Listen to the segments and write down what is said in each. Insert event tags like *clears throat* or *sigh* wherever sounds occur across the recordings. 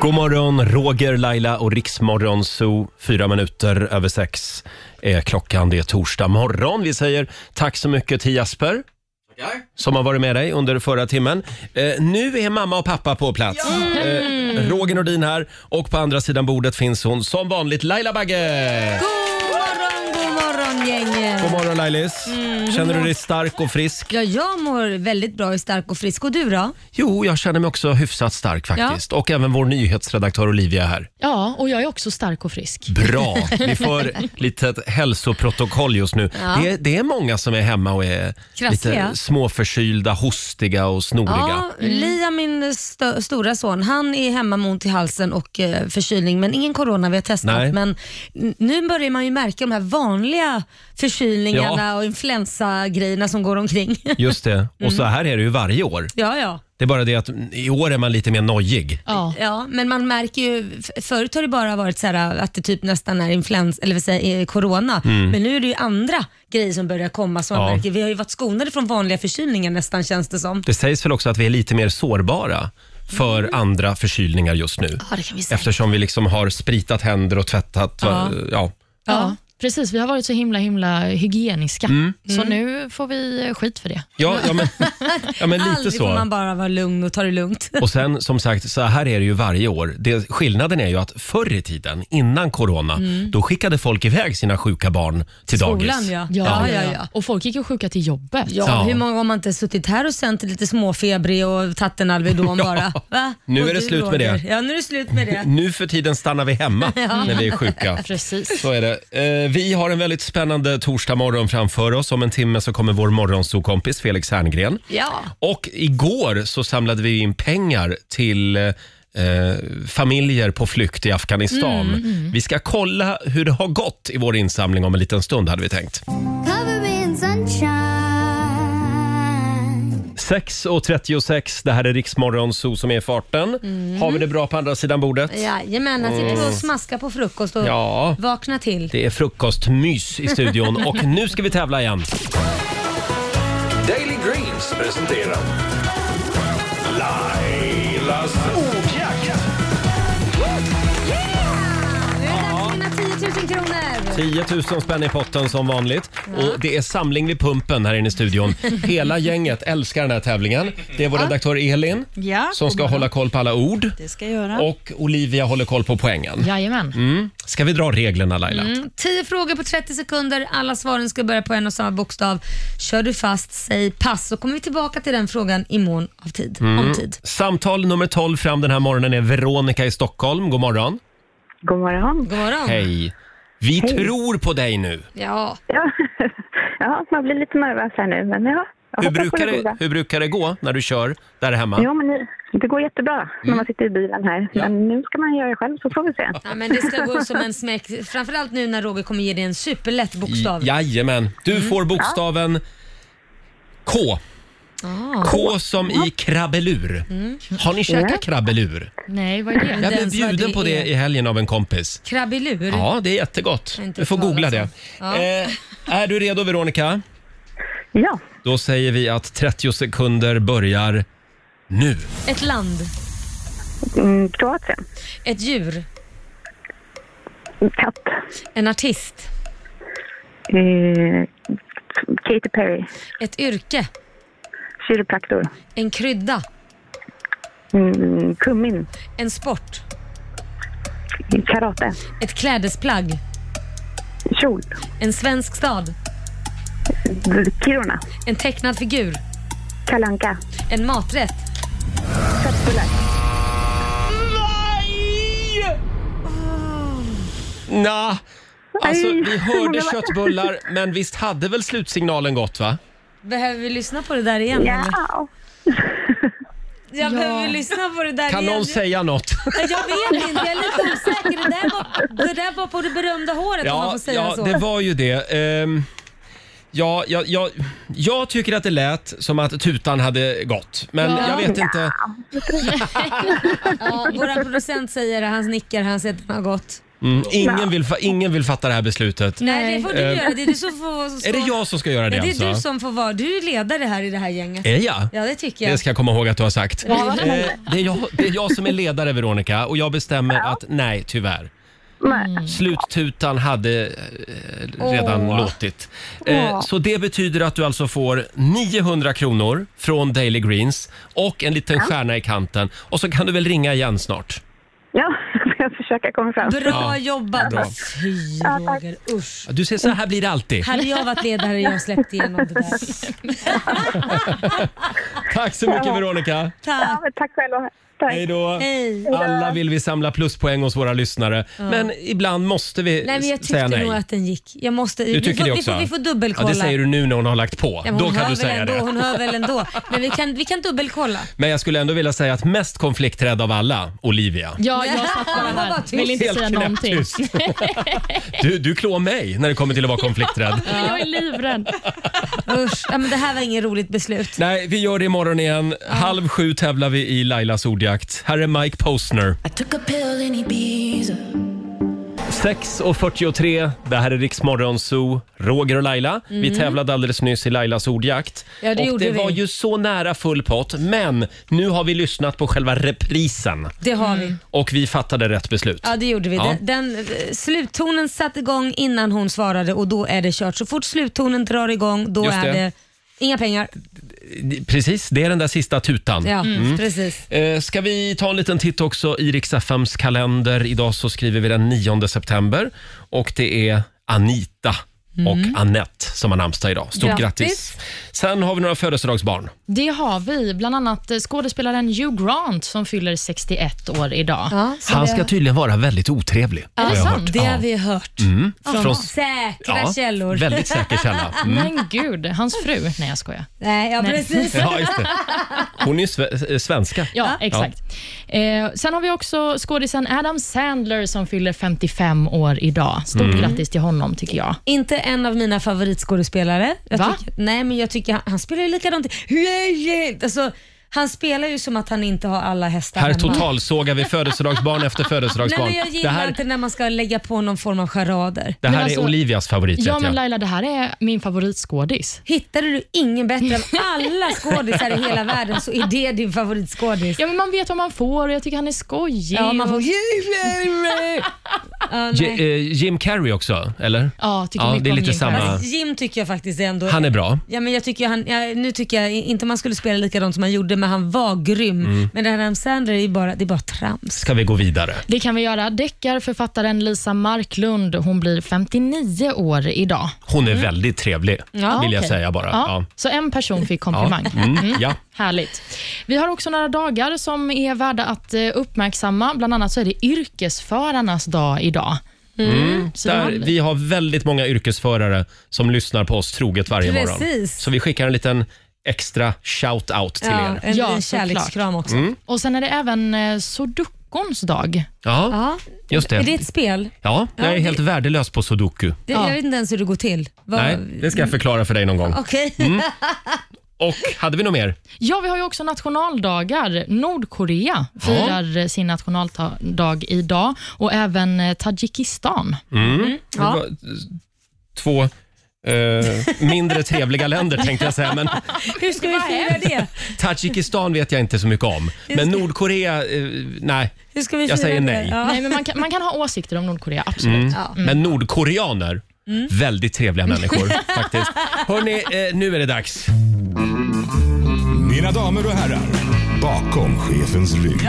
God morgon, Roger, Laila och Riksmorgon Zoo. Fyra minuter över sex är klockan. Det är torsdag morgon. Vi säger tack så mycket till Jasper som har varit med dig under förra timmen. Eh, nu är mamma och pappa på plats. Eh, Roger Nordin här och på andra sidan bordet finns hon som vanligt Laila Bagge. God morgon, god morgon gänget! God morgon Lailis. Känner du dig stark och frisk? Ja, jag mår väldigt bra, är stark och frisk. Och du då? Jo, jag känner mig också hyfsat stark faktiskt. Och även vår nyhetsredaktör Olivia är här. Ja, och jag är också stark och frisk. Bra! Vi får lite ett hälsoprotokoll just nu. Ja. Det, är, det är många som är hemma och är Krassliga. lite småförkylda, hostiga och snoriga. Ja, Liam, min stö- stora son, han är hemma med ont i halsen och eh, förkylning, men ingen corona vi har testat. Nej. Men n- nu börjar man ju märka de här vanliga förkylningarna Ja. och influensagrejerna som går omkring. *laughs* Just det. Och Mm. så här är det ju varje år. ja, ja. Det är bara det att i år är man lite mer nojig. Ja. Ja, men man märker ju, f- förut har det bara varit så här att det typ nästan är influens, eller vill säga, eh, corona, men nu är det ju andra grejer som börjar komma som Mm. Ja. man märker. Vi har ju varit skonade från vanliga förkylningar nästan känns det som. Det sägs väl också att vi är lite mer sårbara för Mm. andra förkylningar just nu. Ja, det kan vi säga. Eftersom vi liksom har spritat händer och tvättat. Ja. Ja. Ja. Ja, precis. Vi har varit så himla himla hygieniska, Mm. Mm. så nu får vi skit för det. Ja, ja, men, ja, men lite Aldrig får så. man bara vara lugn och ta det lugnt. Och sen som sagt, så här är det ju varje år. Det, skillnaden är ju att förr i tiden, innan corona, då skickade folk iväg sina sjuka barn till dagis. ja. Ja, ja, ja. Och folk gick ju sjuka till jobbet. Ja, Ja. hur många har man inte suttit här och sänt lite småfebrig och tagit *laughs* en Alvedon bara? Va? Nu Och är det du, slut med Roger. det. Ja, nu är det slut *laughs* med det. Nu för tiden stannar vi hemma när vi är sjuka. Precis. Så är det. Eh, vi har en väldigt spännande torsdagmorgon framför oss. Om en timme så kommer vår morgonsokompis Felix Herngren. Ja. Och igår så samlade vi in pengar till eh, familjer på flykt i Afghanistan. Vi ska kolla hur det har gått i vår insamling om en liten stund hade vi tänkt. Cover in sunshine. 6.36, det här är Riksmorgon Zoo som är i farten. Mm. Har vi det bra på andra sidan bordet? Jajamän, att sitta och smaska på frukost och Mm. Ja. vakna till. Det är frukostmys i *laughs* studion och nu ska vi tävla igen. Daily Greens presenterar Lailas ordjakt. Nu är det dags att vinna 10 000 kronor. 10 000 spänn i potten som vanligt. Och det är samling vid pumpen här inne i *laughs* studion. Hela gänget älskar den här tävlingen. Det är vår redaktör Elin Ja, som ska hålla koll på alla ord. det ska jag göra. Och Olivia håller koll på poängen. Jajamän. Mm. Ska vi dra reglerna Laila? 10 Mm, frågor på 30 sekunder. Alla svaren ska börja på en och samma bokstav. Kör du fast, säg pass. Så kommer vi tillbaka till den frågan i mån av tid. Mm. Om tid. Samtal nummer 12 fram den här morgonen är Veronica i Stockholm. God morgon. God morgon. God morgon. Hej. Vi tror på dig nu. Ja. Ja. *laughs* ja, man blir lite nervös här nu, men ja. jag Hur hoppas på brukar, det, goda. hur brukar det gå när du kör där hemma? Jo, men nu- det går jättebra Mm. när man sitter i bilen här. Men nu ska man göra det själv, så får vi se. ja, men det ska gå som en smäck. Framförallt nu när Roger kommer ge dig en superlätt bokstav. Jajamän. Du får bokstaven K. K som i krabbelur. Har ni käkat krabbelur? Nej, vad är det? Jag blev ens vad bjuden det på det är. i helgen av en kompis. Krabbelur. Ja, det är jättegott. Jag har inte Du får hört googla det. talas om. Eh, är du redo Veronica? Ja, Då säger vi att 30 sekunder börjar nu. Ett land. mm, Kroatien. Ett djur. Katt. En artist. Eh, Katy Perry. Ett yrke. Kiropraktor. En krydda. Mm, kummin. En sport. Karate. Ett klädesplagg. Kjol. En svensk stad. Kiruna. En tecknad figur. Kalanka. En maträtt. Nja, alltså Nej. vi hörde *laughs* köttbullar, men visst hade väl slutsignalen gått va? Behöver vi lyssna på det där igen? Ja. eller? Jag Ja. behöver lyssna på det där Kan igen. någon säga *laughs* något? Jag vet inte, jag är lite osäker. Det där var, det där var på det berömda håret om man får säga ja så. det var ju det. Ehm, ja, ja, ja, jag tycker att det lät som att tutan hade gått, men jag vet inte. Ja, vår producent säger det, han nickar, han säger att den har gått. Mm. Ingen, vill fa- ingen vill fatta det här beslutet. Nej, det får du Eh, göra. Det är du som får... Stå... Är det jag som ska göra det Ja, det är du alltså? som får vara. Du är ledare här i det här gänget. Är jag? Ja, det tycker jag. Det ska jag komma ihåg att du har sagt. Ja. Eh, det, är jag, det är jag som är ledare Veronica och jag bestämmer att nej, tyvärr. Mm. Nej. Sluttutan hade eh, redan låtit. Eh, så det betyder att du alltså får 900 kronor från Daily Greens och en liten stjärna i kanten. Och så kan du väl ringa igen snart. Ja, *laughs* jag ska försöka komma fram. Bra Ja. jobbat. Bra. Fy Roger, usch. Du ser, så här blir det alltid. Hade jag varit ledare hade jag släppt igenom det där. Tack så mycket Veronica. Ja, Tack. men tack själva. Tack. Hej då. Hej. Alla vill vi samla pluspoäng hos våra lyssnare, men ibland måste vi Nej, men jag s- säga tyckte nej. nog att den gick. Jag måste, Du vi, tycker får, det vi, också? får, vi får Ja, dubbelkolla. det säger du nu när hon har lagt på. Ja, men Då hon kan hör du väl säga ändå, det. Hon hör väl ändå. Men vi kan, vi kan dubbelkolla. Men jag skulle ändå vilja säga att mest konflikträdd av alla, Olivia. Ja, jag satt bara Hon var bara här. tyst. Vill inte Helt säga knäpptyst. någonting. *laughs* Du, du klår mig när det kommer till att vara konflikträdd. Jag är livrädd. Usch. Ja, men det här var inget roligt beslut. Nej, vi gör det imorgon igen. Halv sju tävlar vi i Lailas ordjakt. Här är Mike Postner. I took a pill in Ibiza. 6.43, det här är Rix Morgon Zoo, Roger och Laila. Vi tävlade alldeles nyss i Lailas ordjakt. Ja, det och gjorde det vi. var ju så nära full pott, men nu har vi lyssnat på själva reprisen Det har vi. och vi fattade rätt beslut. Mm. Ja, det gjorde vi. Ja. Den, den, eh, sluttonen satte igång innan hon svarade och då är det kört. Så fort sluttonen drar igång, då Just är det. det. inga pengar. Precis, det är den där sista tutan. Ja, Mm. precis. Eh, Ska vi ta en liten titt också i Rix FMs kalender. Idag så skriver vi den 9 september och det är Anita och Annette som har namnsdag idag. Stort grattis. Grattis. Sen har vi några födelsedagsbarn. Det har vi. Bland annat eh, skådespelaren Hugh Grant som fyller 61 år idag. Ja, så Han det- ska tydligen vara väldigt otrevlig. Är har det jag sant? hört. Det har Ja. vi hört. Från, Från- säkra Mm. Ja, källor. Väldigt säker källa. Mm. Men gud, hans fru. Nej, jag skojar. Nej, ja, Nej. precis. Ja, just det. Hon är ju sve- eh, svenska. Ja, exakt. Eh, sen har vi också skådisen Adam Sandler som fyller 55 år idag. Stort Mm. grattis till honom, tycker jag. Inte en av mina favoritskådespelare. Jag Va? Tycker, nej, men jag tycker han, han spelar ju likadant. Alltså, han spelar ju som att han inte har alla hästar Här hemma. totalsågar vi födelsedagsbarn efter Nej, födelsedagsbarn. men jag gillar det här, inte när man ska lägga på någon form av charader. det här Men alltså- är Olivias favorit. Ja, vet men jag. Laila, det här är min favoritskådis. Hittade du ingen bättre än alla skådisar i hela världen så är det din favoritskådis. Ja, men man vet vad man får och jag tycker han är skojig. Ja, man får... och- Ja, J- nej. eh, Jim Carrey också, eller? Ja, tycker Ja, mycket det är om lite Jim samma. Carrey. Fast Alltså, Jim tycker jag faktiskt ändå Han är bra. Ja, men jag tycker han, ja, nu tycker jag inte man skulle spela likadant som han gjorde, men han var grym. Men det här Adam Sandler är ju bara, det är bara trams. Mm. Ska vi gå vidare? Det kan vi göra. Deckarförfattaren Lisa Marklund, hon blir 59 år idag. Hon är väldigt trevlig, Mm. Ja, vill jag okej. säga bara. Ja. Ja. Så en person fick Ja. komplimang. Mm. Ja. Härligt. Vi har också några dagar som är värda att eh, uppmärksamma. Bland annat så är det yrkesförarnas dag idag. Så det Mm. Där, har vi. vi har väldigt många yrkesförare som lyssnar på oss troget varje morgon. Precis. Så vi skickar en liten extra shout-out till Ja, er. en Ja, en såklart. kärlekskram också. Mm. Och Sen är det även eh, sudokons dag. Ja, Ja. just Är det det. ett spel? Ja, jag är helt värdelös på sudoku. Det, Ja. Jag vet inte ens hur det går till. Vad- Nej, Mm. det ska jag förklara för dig någon gång. Okej. Och hade vi något mer? Ja, vi har ju också nationaldagar. Nordkorea firar eh, sin nationaldag idag och även eh, Tadzjikistan. Det var, eh, Två eh, mindre trevliga länder tänkte jag säga, men *laughs* Hur ska vi fira det? Tadzjikistan vet jag inte så mycket om. Men Nordkorea, eh, nej. Hur ska vi Jag fira säger det? nej. Ja. Nej, men man, kan, man kan ha åsikter om Nordkorea, absolut. Mm. Men nordkoreaner, väldigt trevliga *laughs* människor faktiskt. Hörni, eh, nu är det dags. Mina damer och herrar, bakom chefens rygg.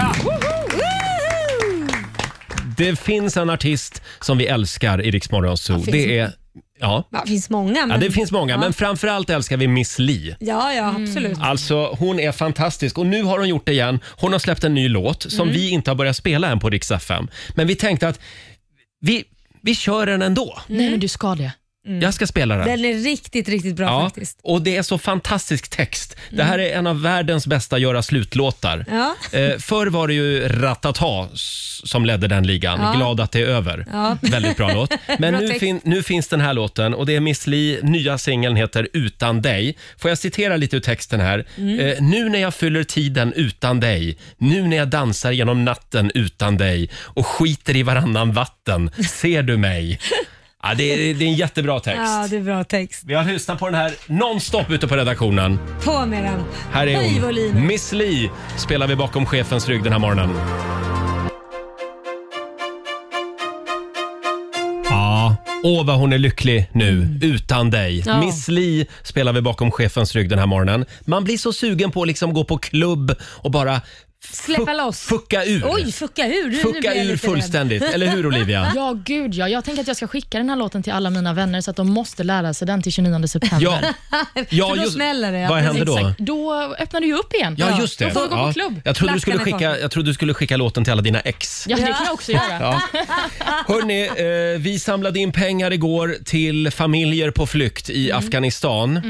Det finns en artist som vi älskar i Rix Morgon Zoo. finns Det är... Ja, Ja, det finns många. Men... ja, det finns många, men framförallt älskar vi Miss Li. ja, ja, Mm. absolut. Alltså, hon är fantastisk och nu har hon gjort det igen. Hon har släppt en ny låt som vi inte har börjat spela än på Rix FM. Men vi tänkte att vi, vi kör den ändå. Nej, men du ska det. Jag ska spela Mm. den. Den är riktigt, riktigt bra Ja, faktiskt. och det är så fantastisk text. Det här är en av världens bästa göra slutlåtar. Ja. Eh, förr var det ju Ratata s- som ledde den ligan. Glad att det är över. Ja. *laughs* Väldigt bra låt. Men Bra nu, text. fin- nu finns den här låten och det är Miss Li. Nya singeln heter Utan dig. Får jag citera lite ur texten här? Mm. Eh, nu när jag fyller tiden utan dig. Nu när jag dansar genom natten utan dig och skiter i varannan vatten. Ser du *laughs* mig? Ja, det, är, det är en jättebra text. Ja, det är bra text. Vi har lyssnat på den här nonstop ute på redaktionen. På med den. Här är Höj hon. volymen. Miss Li spelar vi bakom chefens rygg den här morgonen. Ja, åh vad hon är lycklig nu utan dig. Ja. Miss Li spelar vi bakom chefens rygg den här morgonen. Man blir så sugen på att liksom gå på klubb och bara Släppa fuck- loss. fucka ur. Oj, fucka ur. Nu, nu blir fucka jag ur lite rädd. *laughs* fullständigt. Eller hur Olivia? Ja, gud ja. Jag tänker att jag ska skicka den här låten till alla mina vänner så att de måste lära sig den till 29 september. Ja, ja då smäller det, ja, Vad händer då? Exakt. Då öppnar du ju upp igen. Ja, just det. Då får vi gå på ja. klubb. Jag, trodde du Lackarna skulle skicka, kvar. jag trodde du skulle skicka låten till alla dina ex. Ja, det kan jag också göra. Ja. Hörni, eh, vi samlade in pengar igår till familjer på flykt i Mm. Afghanistan.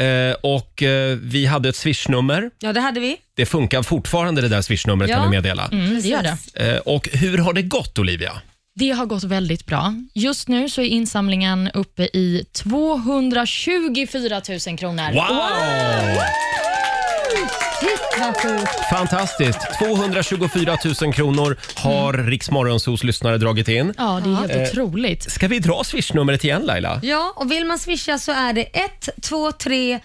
Eh, och eh, vi hade ett swishnummer. Ja, det hade vi. Det funkar fortfarande det där swishnumret Ja. kan vi meddela. Mm, det gör det. Eh, och hur har det gått Olivia? Det har gått väldigt bra. Just nu så är insamlingen uppe i 224 000 kronor. Wow! Shit, vad sjukt. Fantastiskt! 224 000 kronor har mm. Riksmorgonsos lyssnare dragit in. Ja, det är helt otroligt. Ska vi dra swishnumret igen Laila? Ja, och vill man swisha så är det 123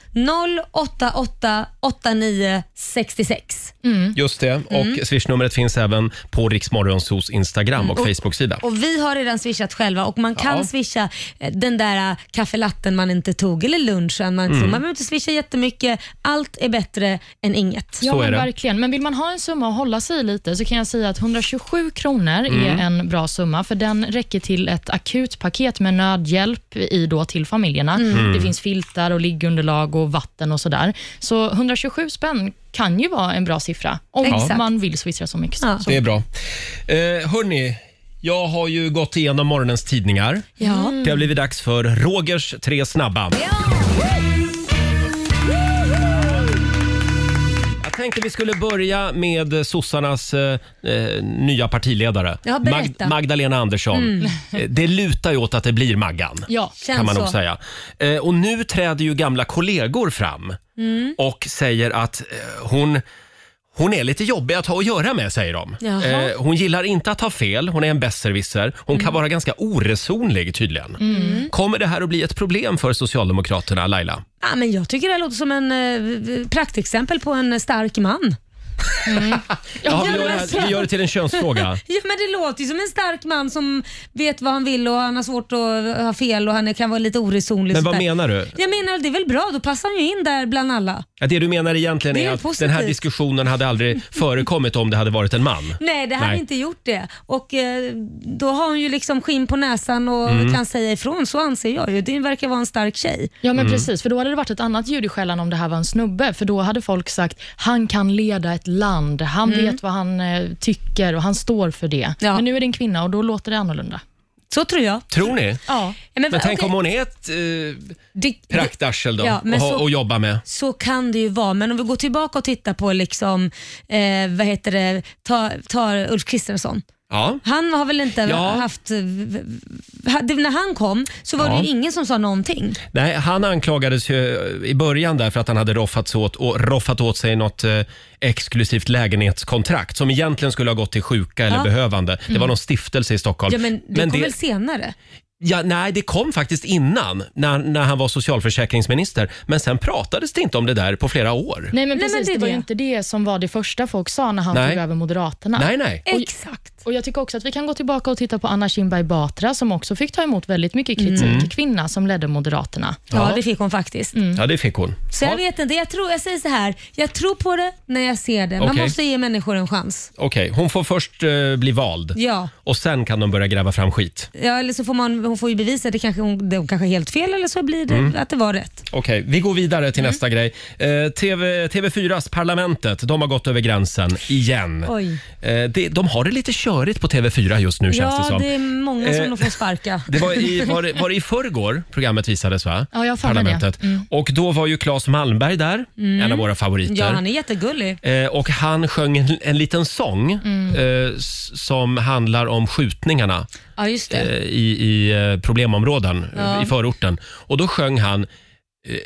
088 89 66. Just det. Mm. Och swishnumret finns även på Riksmorgonsos Instagram och Facebook-sida. Mm, Och vi har redan swishat själva och man kan Ja. swisha eh, den där eh, kaffelatten man inte tog eller lunchen Mm. man tog. Man behöver inte swisha jättemycket. Allt är bättre än inget. Så Ja, är men det. verkligen. Men vill man ha en summa att hålla sig i lite så kan jag säga att 127 kronor är en bra summa för den räcker till ett akut paket med nödhjälp i då till familjerna. Det finns filtar och liggunderlag och vatten och sådär. Så 127 spänn kan ju vara en bra siffra om Exakt. man vill swisha så mycket. Ja. Så. Det är bra. Eh, hörni, jag har ju gått igenom morgonens tidningar. Ja. Det har blivit dags för Rogers tre snabba. Jag tänkte vi skulle börja med sossarnas eh, eh, nya partiledare. Ja, berätta. Mm. Magdalena Andersson. Eh, Det lutar ju åt att det blir Maggan. Ja. Känns kan man så. nog säga. Eh, och nu träder ju gamla kollegor fram Mm. och säger att eh, hon hon är lite jobbig att ha att göra med, säger de. Jaha. Eh, hon gillar inte att ha fel, hon är en besserwisser. Hon Mm. kan vara ganska oresonlig tydligen. Kommer det här att bli ett problem för Socialdemokraterna, Laila? Ja, men jag tycker det här låter som en eh, praktexempel på en stark man. *laughs* Ja, vi, men gör det alltså. här, vi gör det till en *laughs* könsfråga. Ja, men det låter ju som en stark man som vet vad han vill och han har svårt att eh, ha fel och han kan vara lite oresonlig. Men och vad sånt där. menar du? Jag menar det är väl bra, då passar han ju in där bland alla. Ja, det du menar egentligen Det är, är ju att positivt. den här diskussionen hade aldrig förekommit om det hade varit en man. Nej, det hade Nej. inte gjort det. Och eh, Då har hon ju liksom skinn på näsan och Mm. kan säga ifrån, så anser jag ju. Det verkar vara en stark tjej. Ja, men Mm. precis. För då hade det varit ett annat ljud i skällan om det här var en snubbe. För då hade folk sagt, han kan leda ett land, han vet vad han eh, tycker och han står för det. Ja. Men nu är det en kvinna och då låter det annorlunda. Så tror jag. Tror ni? Ja. Ja, Men tänk okej, om hon är ett eh, det, det, praktarsel då Ja, men och, ha- så- och jobba med? så kan det ju vara, men om vi går tillbaka och tittar på liksom, eh, vad heter det, ta, ta Ulf Kristersson. Ja. Han har väl inte Ja. haft... hade- När han kom så var Ja. det ju ingen som sa någonting. Nej, han anklagades ju eh, i början där för att han hade roffat åt, och roffat åt sig något eh, exklusivt lägenhetskontrakt som egentligen skulle ha gått till sjuka eller Ja. Mm. behövande. Det var någon stiftelse i Stockholm. Ja, men det kom väl senare? ja, nej, det kom faktiskt innan, när, när han var socialförsäkringsminister. Men sen pratades det inte om det där på flera år. Nej, men Nej, precis. men det är det, var ju det. inte det som var det första folk sa när han Nej. tog över Moderaterna. Nej, nej. Oj. Exakt. Och Jag tycker också att vi kan gå tillbaka och titta på Anna Kinberg Batra som också fick ta emot väldigt mycket kritik. Mm. Kvinna som ledde Moderaterna. Ja, det fick hon faktiskt. Ja, det fick hon. Så jag Ja, vet inte, jag, tror, jag säger så här. jag tror på det när jag ser det. Man Okej. måste ge människor en chans. Okej, hon får först eh, bli vald Ja. och sen kan de börja gräva fram skit. ja, eller så får man hon får ju bevisa det kanske hon, det, hon kanske har helt fel eller så blir det Mm. att det var rätt. Okej, vi går vidare till nästa grej. Eh, TV, TV4s Parlamentet, de har gått över gränsen igen. Oj. Eh, det, de har det lite körigt på TV4 just nu känns det Ja, som. det är många Eh, som nog får sparka. Det var i, var, det- var det i förrgår programmet visades, va? Ja, jag har för mig Parlamentet. det. Mm. Och då var ju Claes Malmberg där, en av våra favoriter. Ja, han är jättegullig. Eh, och han sjöng en, en liten sång eh, s- som handlar om skjutningarna Ja, just eh, det. i, i eh, problemområden, Ja. i förorten. Och då sjöng han, eh,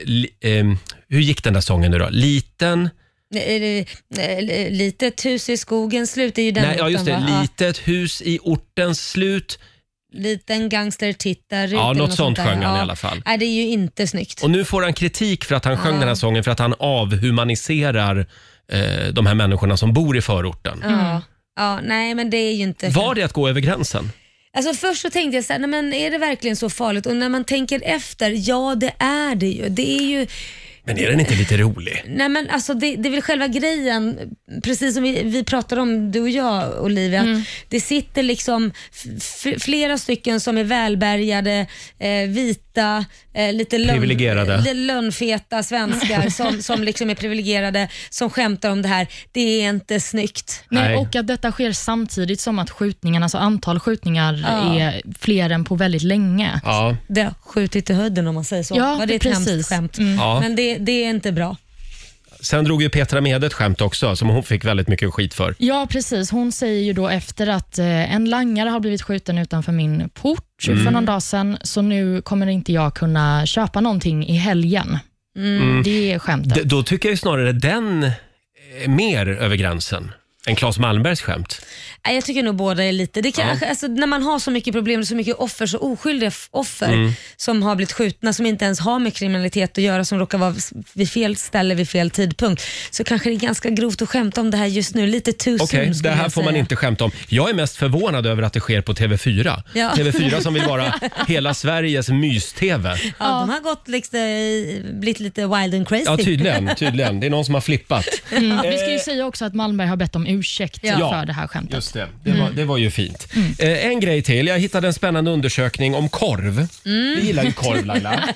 li, ehm, hur gick den där sången nu då? Liten, Eh, eh, eh, Litet hus i skogen slut, det är ju den nej ja just det, låten, va? litet hus i ortens slut. Ja, Liten gangster tittar ut. Ja, eller något sånt där. sjöng han Ja. i alla fall. Nej, det är ju inte snyggt. Och nu får han kritik för att han sjöng Ja. den här sången för att han avhumaniserar eh, de här människorna som bor i förorten. Ja. ja, nej men det är ju inte... Var det att gå över gränsen? Alltså först så tänkte jag så här, nej men är det verkligen så farligt? Och när man tänker efter, ja det är det ju. Det är ju, Men är den inte lite rolig? nej men alltså det, det är väl själva grejen, precis som vi, vi pratade om, du och jag Olivia, Mm. att det sitter liksom f- f- flera stycken som är välbärgade, eh, vita, eh, lite lön- Privilegierade. li- *laughs* lönnfeta svenskar som, som liksom är privilegierade, som skämtar om det här. Det är inte snyggt. Nej. Nej, och att detta sker samtidigt som att skjutningarna, alltså antal skjutningar Ja. är fler än på väldigt länge. Ja. Det har skjutit i höjden om man säger så. Ja, Var det ett precis. hemskt skämt? Mm. Ja. Men det, det är inte bra. Sen drog ju Petra Mede ett skämt också som hon fick väldigt mycket skit för. Ja, precis. Hon säger ju då efter att eh, en langare har blivit skjuten utanför min port Mm. för någon dag sedan, så nu kommer inte jag kunna köpa någonting i helgen. Mm. Det är skämtet. D- då tycker jag ju snarare den är mer över gränsen än Claes Malmbergs skämt. Nej, Jag tycker nog båda är lite. Det kan, alltså, när man har så mycket problem, så mycket offer, så oskyldiga f- offer Mm. som har blivit skjutna, som inte ens har med kriminalitet att göra, som råkar vara s- vid fel ställe vid fel tidpunkt, så kanske det är ganska grovt att skämta om det här just nu. Lite too soon, Okej, det skulle här jag får man säga. inte skämta om. Jag är mest förvånad över att det sker på TV4. Ja. TV4 som vill vara hela Sveriges mys-TV. Ja, de har gått liksom, eh, blivit lite wild and crazy. Ja, tydligen, tydligen. Det är någon som har flippat. Mm. Vi ska ju säga också att Malmberg har bett om ursäkt Ja. för det här skämtet. Just det, det, var, det var ju fint. Mm. Eh, en grej till. Jag hittade en spännande undersökning om Mm. korv. Vi gillar ju korv, Laila.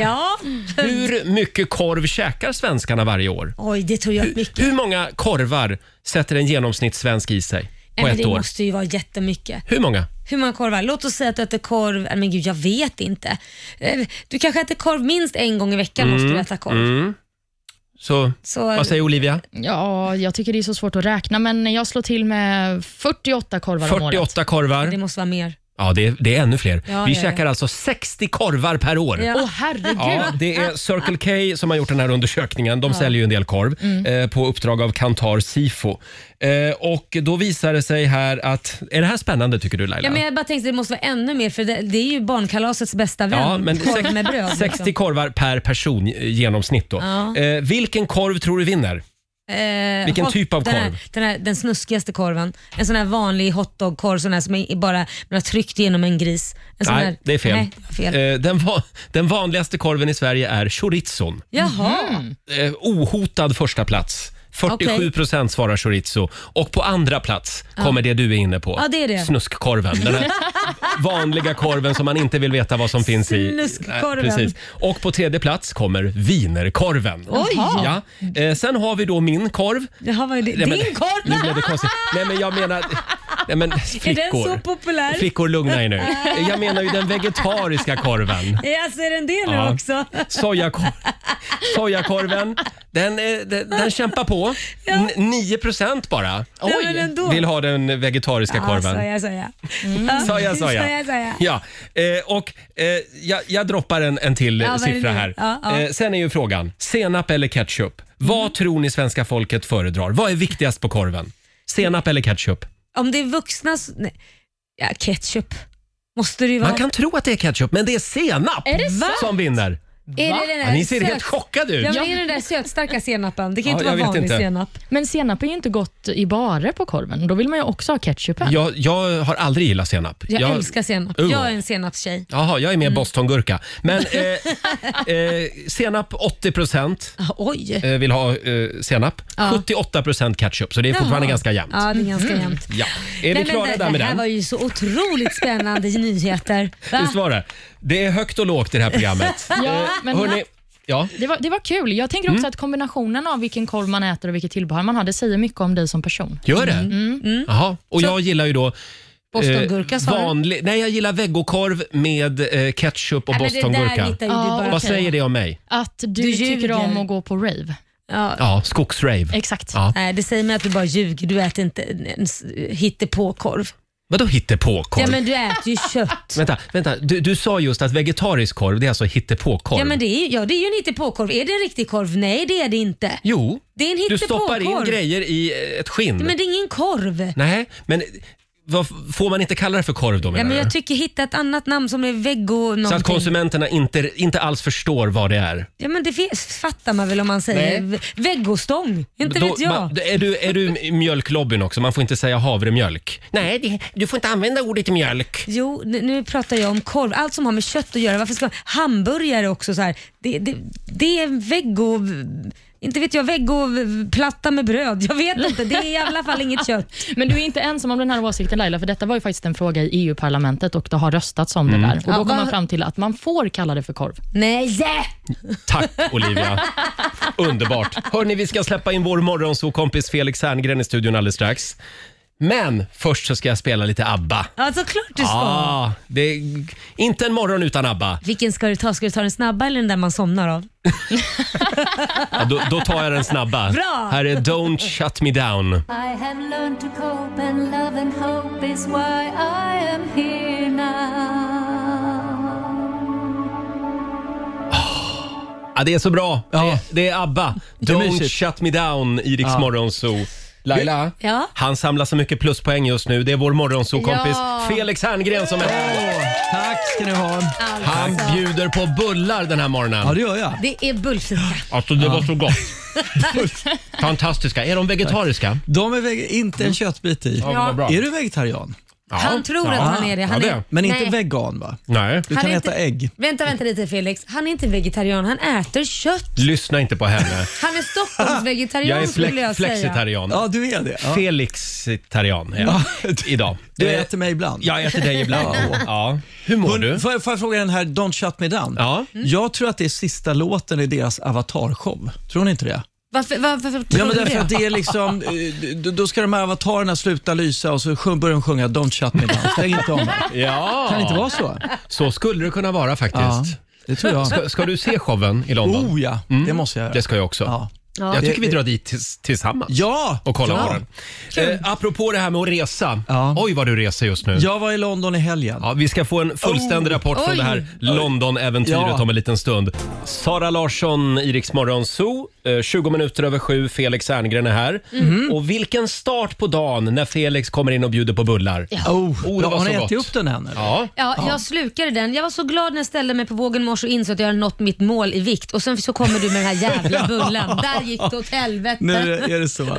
ja. Hur mycket korv käkar svenskarna varje år? Oj, det tror jag är mycket. Hur många korvar sätter en genomsnittssvensk i sig på Nej, men ett det år? måste ju vara jättemycket. Hur många? Hur många korvar? Låt oss säga att du äter korv, nej, men gud jag vet inte. Eh, Du kanske äter korv minst en gång i veckan måste du äta korv. Mm. Så, Så, vad säger Olivia? Ja, jag tycker det är så svårt att räkna, men jag slår till med 48 korvar om året. 48 korvar. Det måste vara mer. Ja, det är, det är ännu fler. Ja, Vi ja, ja. käkar alltså 60 korvar per år. Ja. Ah. Åh herregud. Ja, det är Circle K som har gjort den här undersökningen. De säljer ju en del korv Mm. eh, på uppdrag av Kantar Sifo. Eh, och då visar det sig här att... Är det här spännande tycker du Laila? Ja, men jag bara tänkte att det måste vara ännu mer för det, det är ju barnkalasets bästa vän. Ja, men korv sex- med bröd. liksom. 60 korvar per person i genomsnitt då. Ja. Eh, vilken korv tror du vinner? Eh, vilken hot- typ av den korv? Här, den, här, den snuskigaste korven. En sån här vanlig hotdogkorv sån här som är bara man har tryckt igenom en gris. En sån Nej, här, det är fel. Nej, det var fel. Eh, den, va- den vanligaste korven i Sverige är chorizon. Jaha, eh, ohotad första plats. 47 procent svarar chorizo. Och på andra plats kommer det du är inne på. Ja, det är det. Snuskkorven. Den *laughs* här vanliga korven som man inte vill veta vad som finns i. Snuskkorven. Nej, precis. Och på tredje plats kommer wienerkorven. Oj. Ja. Eh, sen har vi då min korv. Jaha vad är det? Nej, men- Din korv! Nu blev det konstigt. Nej, men jag menar... Nej, men Är flickor. den så populär? Flickor, lugna er *laughs* nu. Eh, Jag menar ju den vegetariska korven. Ja, så är den det nu Ja. också? *laughs* Sojakor sojakorven, den, är- den, den kämpar på. N- 9 procent bara Nej, men ändå. vill ha den vegetariska Ja, alltså, korven. Mm. soja, soja. Ja, Soja, soja. soja, soja. Ja, eh, och eh, jag, jag droppar en, en till eh, Ja, vad är det siffra nu? här. Ja, ja. Mm. Eh, sen är ju frågan, senap eller ketchup? Vad tror ni svenska folket föredrar? Vad är viktigast på korven? Senap eller ketchup? Om det är vuxna... s- Nej. Ja, ketchup. Måste det ju vara. Man kan tro att det är ketchup, men det är senap Är det som vinner. Är Va? det den där Ja, ni ser söt- helt chockade ut. Ja, men är det den där sötstarka senapen? Det kan ju Ja, inte jag vet vara vanlig inte. senap. Men senap är ju inte gott i bara på korven. Då vill man ju också ha ketchupen. Jag, jag har aldrig gillat senap. Jag älskar senap. Uh. Jag är en senapstjej. Jaha, jag är Mm. mer bostongurka. *laughs* Men eh, eh, senap 80 procent Ah, oj. eh, vill ha eh, senap. 78 procent ketchup, så det är fortfarande Jaha. ganska jämnt. Ja, det är ganska jämnt. Ja. Är vi Nej, men klara det, där med det här den? var ju så otroligt spännande nyheter. Va? Visst var det? Det är högt och lågt i det här *laughs* programmet. Ja, men- Hörrni, ja. Det var, det var kul. Jag tänker också att kombinationen av vilken korv man äter och vilket tillbehör man har, det säger mycket om dig som person. Gör det? Mm. Mm. Jaha. Och jag gillar ju då eh, Bostongurka sa du? vanlig, Nej, jag gillar veggokorv med eh, ketchup och Nej, men det där bostongurka. hittar ju Ja, du bara Vad på. säger det om mig? Att du, Du tycker ljuger. om att gå på rave. Ja. Ja, skogsrave. Exakt. Ja. Nej, det säger mig att du bara ljuger. Du äter inte ens hittepåkorv. Vadå hittepåkorv? Ja, men du *laughs* äter ju kött. Vänta, vänta. Du, du sa just att vegetarisk korv, det är alltså hittepåkorv? Ja, men det är, ju- ja, det är ju en hittepåkorv. Är det en riktig korv? Nej, det är det inte. Jo, Det är en du stoppar in hittepåkorv. grejer i eh, ett skinn. Men det är ingen korv. Nej, men eh, vad, får man inte kalla det för korv då Ja, menar men jag du? tycker hitta ett annat namn som är veggo någonting. Så att konsumenterna inte, inte alls förstår vad det är? Ja, men det fe- fattar man väl om man Nej. säger Nej. veggostång. Inte Då- vet jag. ma- är, du, är du i mjölklobbyn också? Man får inte säga havremjölk. Nej, det, du får inte använda ordet mjölk. Jo, nu, nu pratar jag om korv. Allt som har med kött att göra. Varför ska man... Hamburgare också så här. Det, det, det är en veggo... Inte vet jag, veggoplatta med bröd. Jag vet inte. Det är i alla fall *laughs* inget kött. Men du är inte ensam om den här åsikten Laila, för detta var ju faktiskt en fråga i EU-parlamentet och det har röstats om det där. Och då Ja, kom vad- man fram till att man får kalla det för korv. Nej! Tack Olivia. Underbart. Hörni, vi ska släppa in vår morgonsåkompis Felix Herngren i studion alldeles strax. Men först så ska jag spela lite ABBA. Ja, såklart du ska. Ah, det är inte en morgon utan ABBA. Vilken ska du ta? Ska du ta den snabba eller den där man somnar av? Ja, då, då tar jag den snabba. Bra. Här är Don't Shut Me Down. I have learned to cope, and love and hope is why I am here now. Ja, det är så bra. Det, det är ABBA. Det är Don't mysigt. Shut Me Down i Rix Morgonzoo. Laila? Ja. Han samlar så mycket pluspoäng just nu. Det är vår morgonsokompis Ja. Felix Herngren som är här. Tack ska ni ha. Han bjuder på bullar den här Ja, morgonen. det gör jag. Det är bullfika. Alltså det var så gott. *laughs* Fantastiska. Är de vegetariska? De är veg- inte en köttbit i. Mm. Ja, vad bra. Är du vegetarian? Ja. Han tror att han är det. Han Ja, det. är... Men Nej. inte vegan va? Nej. Du Han kan är äta inte- ägg. Vänta, vänta lite Felix. Han är inte vegetarian, han äter kött. Lyssna inte på *laughs* henne. Han är *laughs* Stockholmsvegetarian Jag är skulle flex- jag säga. flexitarian. Ja, du är det. Ja. Felixitarian är jag idag. Du Eh, äter mig ibland. Jag äter dig ibland. Ja. Hur mår du? Får, jag, får jag fråga den här Don't Shut Me Down? Ja. Mm. Jag tror att det är sista låten i deras avatarshow. Tror ni inte det? Varför, varför, varför tror Ja, men du därför det? att det är liksom, *laughs* eh, då- då ska de här avatarerna sluta lysa och så sjung- börjar de sjunga Don't Shut Me Down. Stäng *laughs* inte om mig. Ja. Kan det inte vara så? Så skulle det kunna vara Ja, faktiskt. det tror jag. Ska, ska du se showen i London? Oh ja, det måste jag göra. Det ska jag också. Ja. Jag tycker vi Det- det- drar dit tills, tillsammans. Ja! Och kollar ja. på den. Eh, apropå det här med att resa. Ja. Oj vad du reser just nu. Jag var i London i helgen. Ja, vi ska få en fullständig rapport från Oj. det här London-äventyret Oh. Ja. om en liten stund. Sara Larsson, Iriks morgonzoo. Eh, 20 minuter över sju, Felix Herngren är här. Mhm. Och vilken start på dagen när Felix kommer in och bjuder på bullar. Oh, det bra. var Har så ni gott. ätit upp den än? eller? Ja. Ja, jag slukade den. Jag var så glad när jag ställde mig på vågen i morse och insåg att jag hade nått mitt mål i vikt och sen så kommer du med den här *laughs* jävla bullen. Där gick det åt helvete. Nu är det- är det så.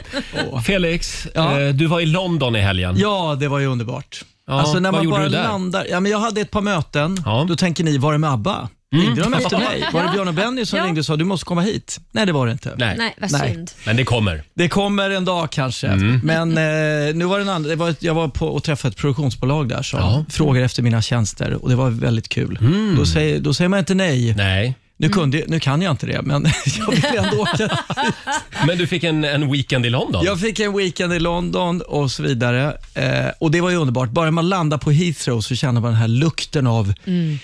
Åh. Felix, Ja. eh, du var i London i helgen. *laughs* Ja, det var ju underbart. Alltså, Ja, vad gjorde du där? landar, ja, men jag hade ett par möten, Ja. Mm. då tänker ni, var det med ABBA? Ringde *laughs* de efter mig? Var det Björn och Benny som Ja. ringde och sa du måste komma hit? Nej, det var det inte. Nej. Nej, vad Nej. synd. men det kommer. Det kommer en dag kanske. Mm. Men eh, nu var den andra, det var, ett- jag var på och träffade ett produktionsbolag där som Ja. Mm. frågade efter mina tjänster och det var väldigt kul. Då, säger, då säger man inte nej. Nej. Nu, kunde, nu kan jag inte det, men *laughs* jag vill ändå åka. Men du fick en, en weekend i London. Jag fick en weekend i London och så vidare. Eh, och Det var ju underbart. Bara man landar på Heathrow så känner man den här lukten av Mm.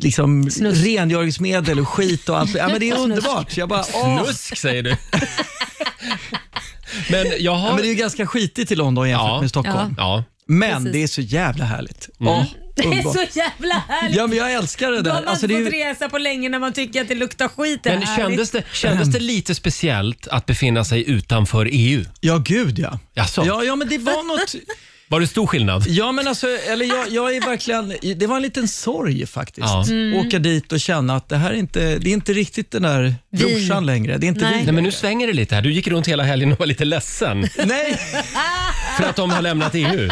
liksom, rengöringsmedel och skit och allt. Ja, men *laughs* det är underbart. Jag bara, åh. Snusk säger du. men Ja, jaha. men det är ju ganska skitigt i London jämfört Ja. med Stockholm. Ja. Men Precis. Mm. det är så jävla härligt. Ja, *laughs* Det är underbart. så jävla härligt. Ja, men jag älskar det Då har där. man Alltså, det inte är fått ju, resa på länge när man tycker att det luktar skit. Men kändes det, kändes det lite speciellt att befinna sig utanför E EU? ja, gud ja. Jaså? Ja, ja, men det var något... Var det stor skillnad? Ja, men alltså, eller jag, jag är verkligen, det var en liten sorg faktiskt. Ja. Åka dit och känna att det här är inte, det är inte riktigt den där brorsan längre. Det är inte Nej. vi. Nej, men nu svänger det lite här. Du gick runt hela helgen och var lite ledsen Nej, för att de har lämnat E EU.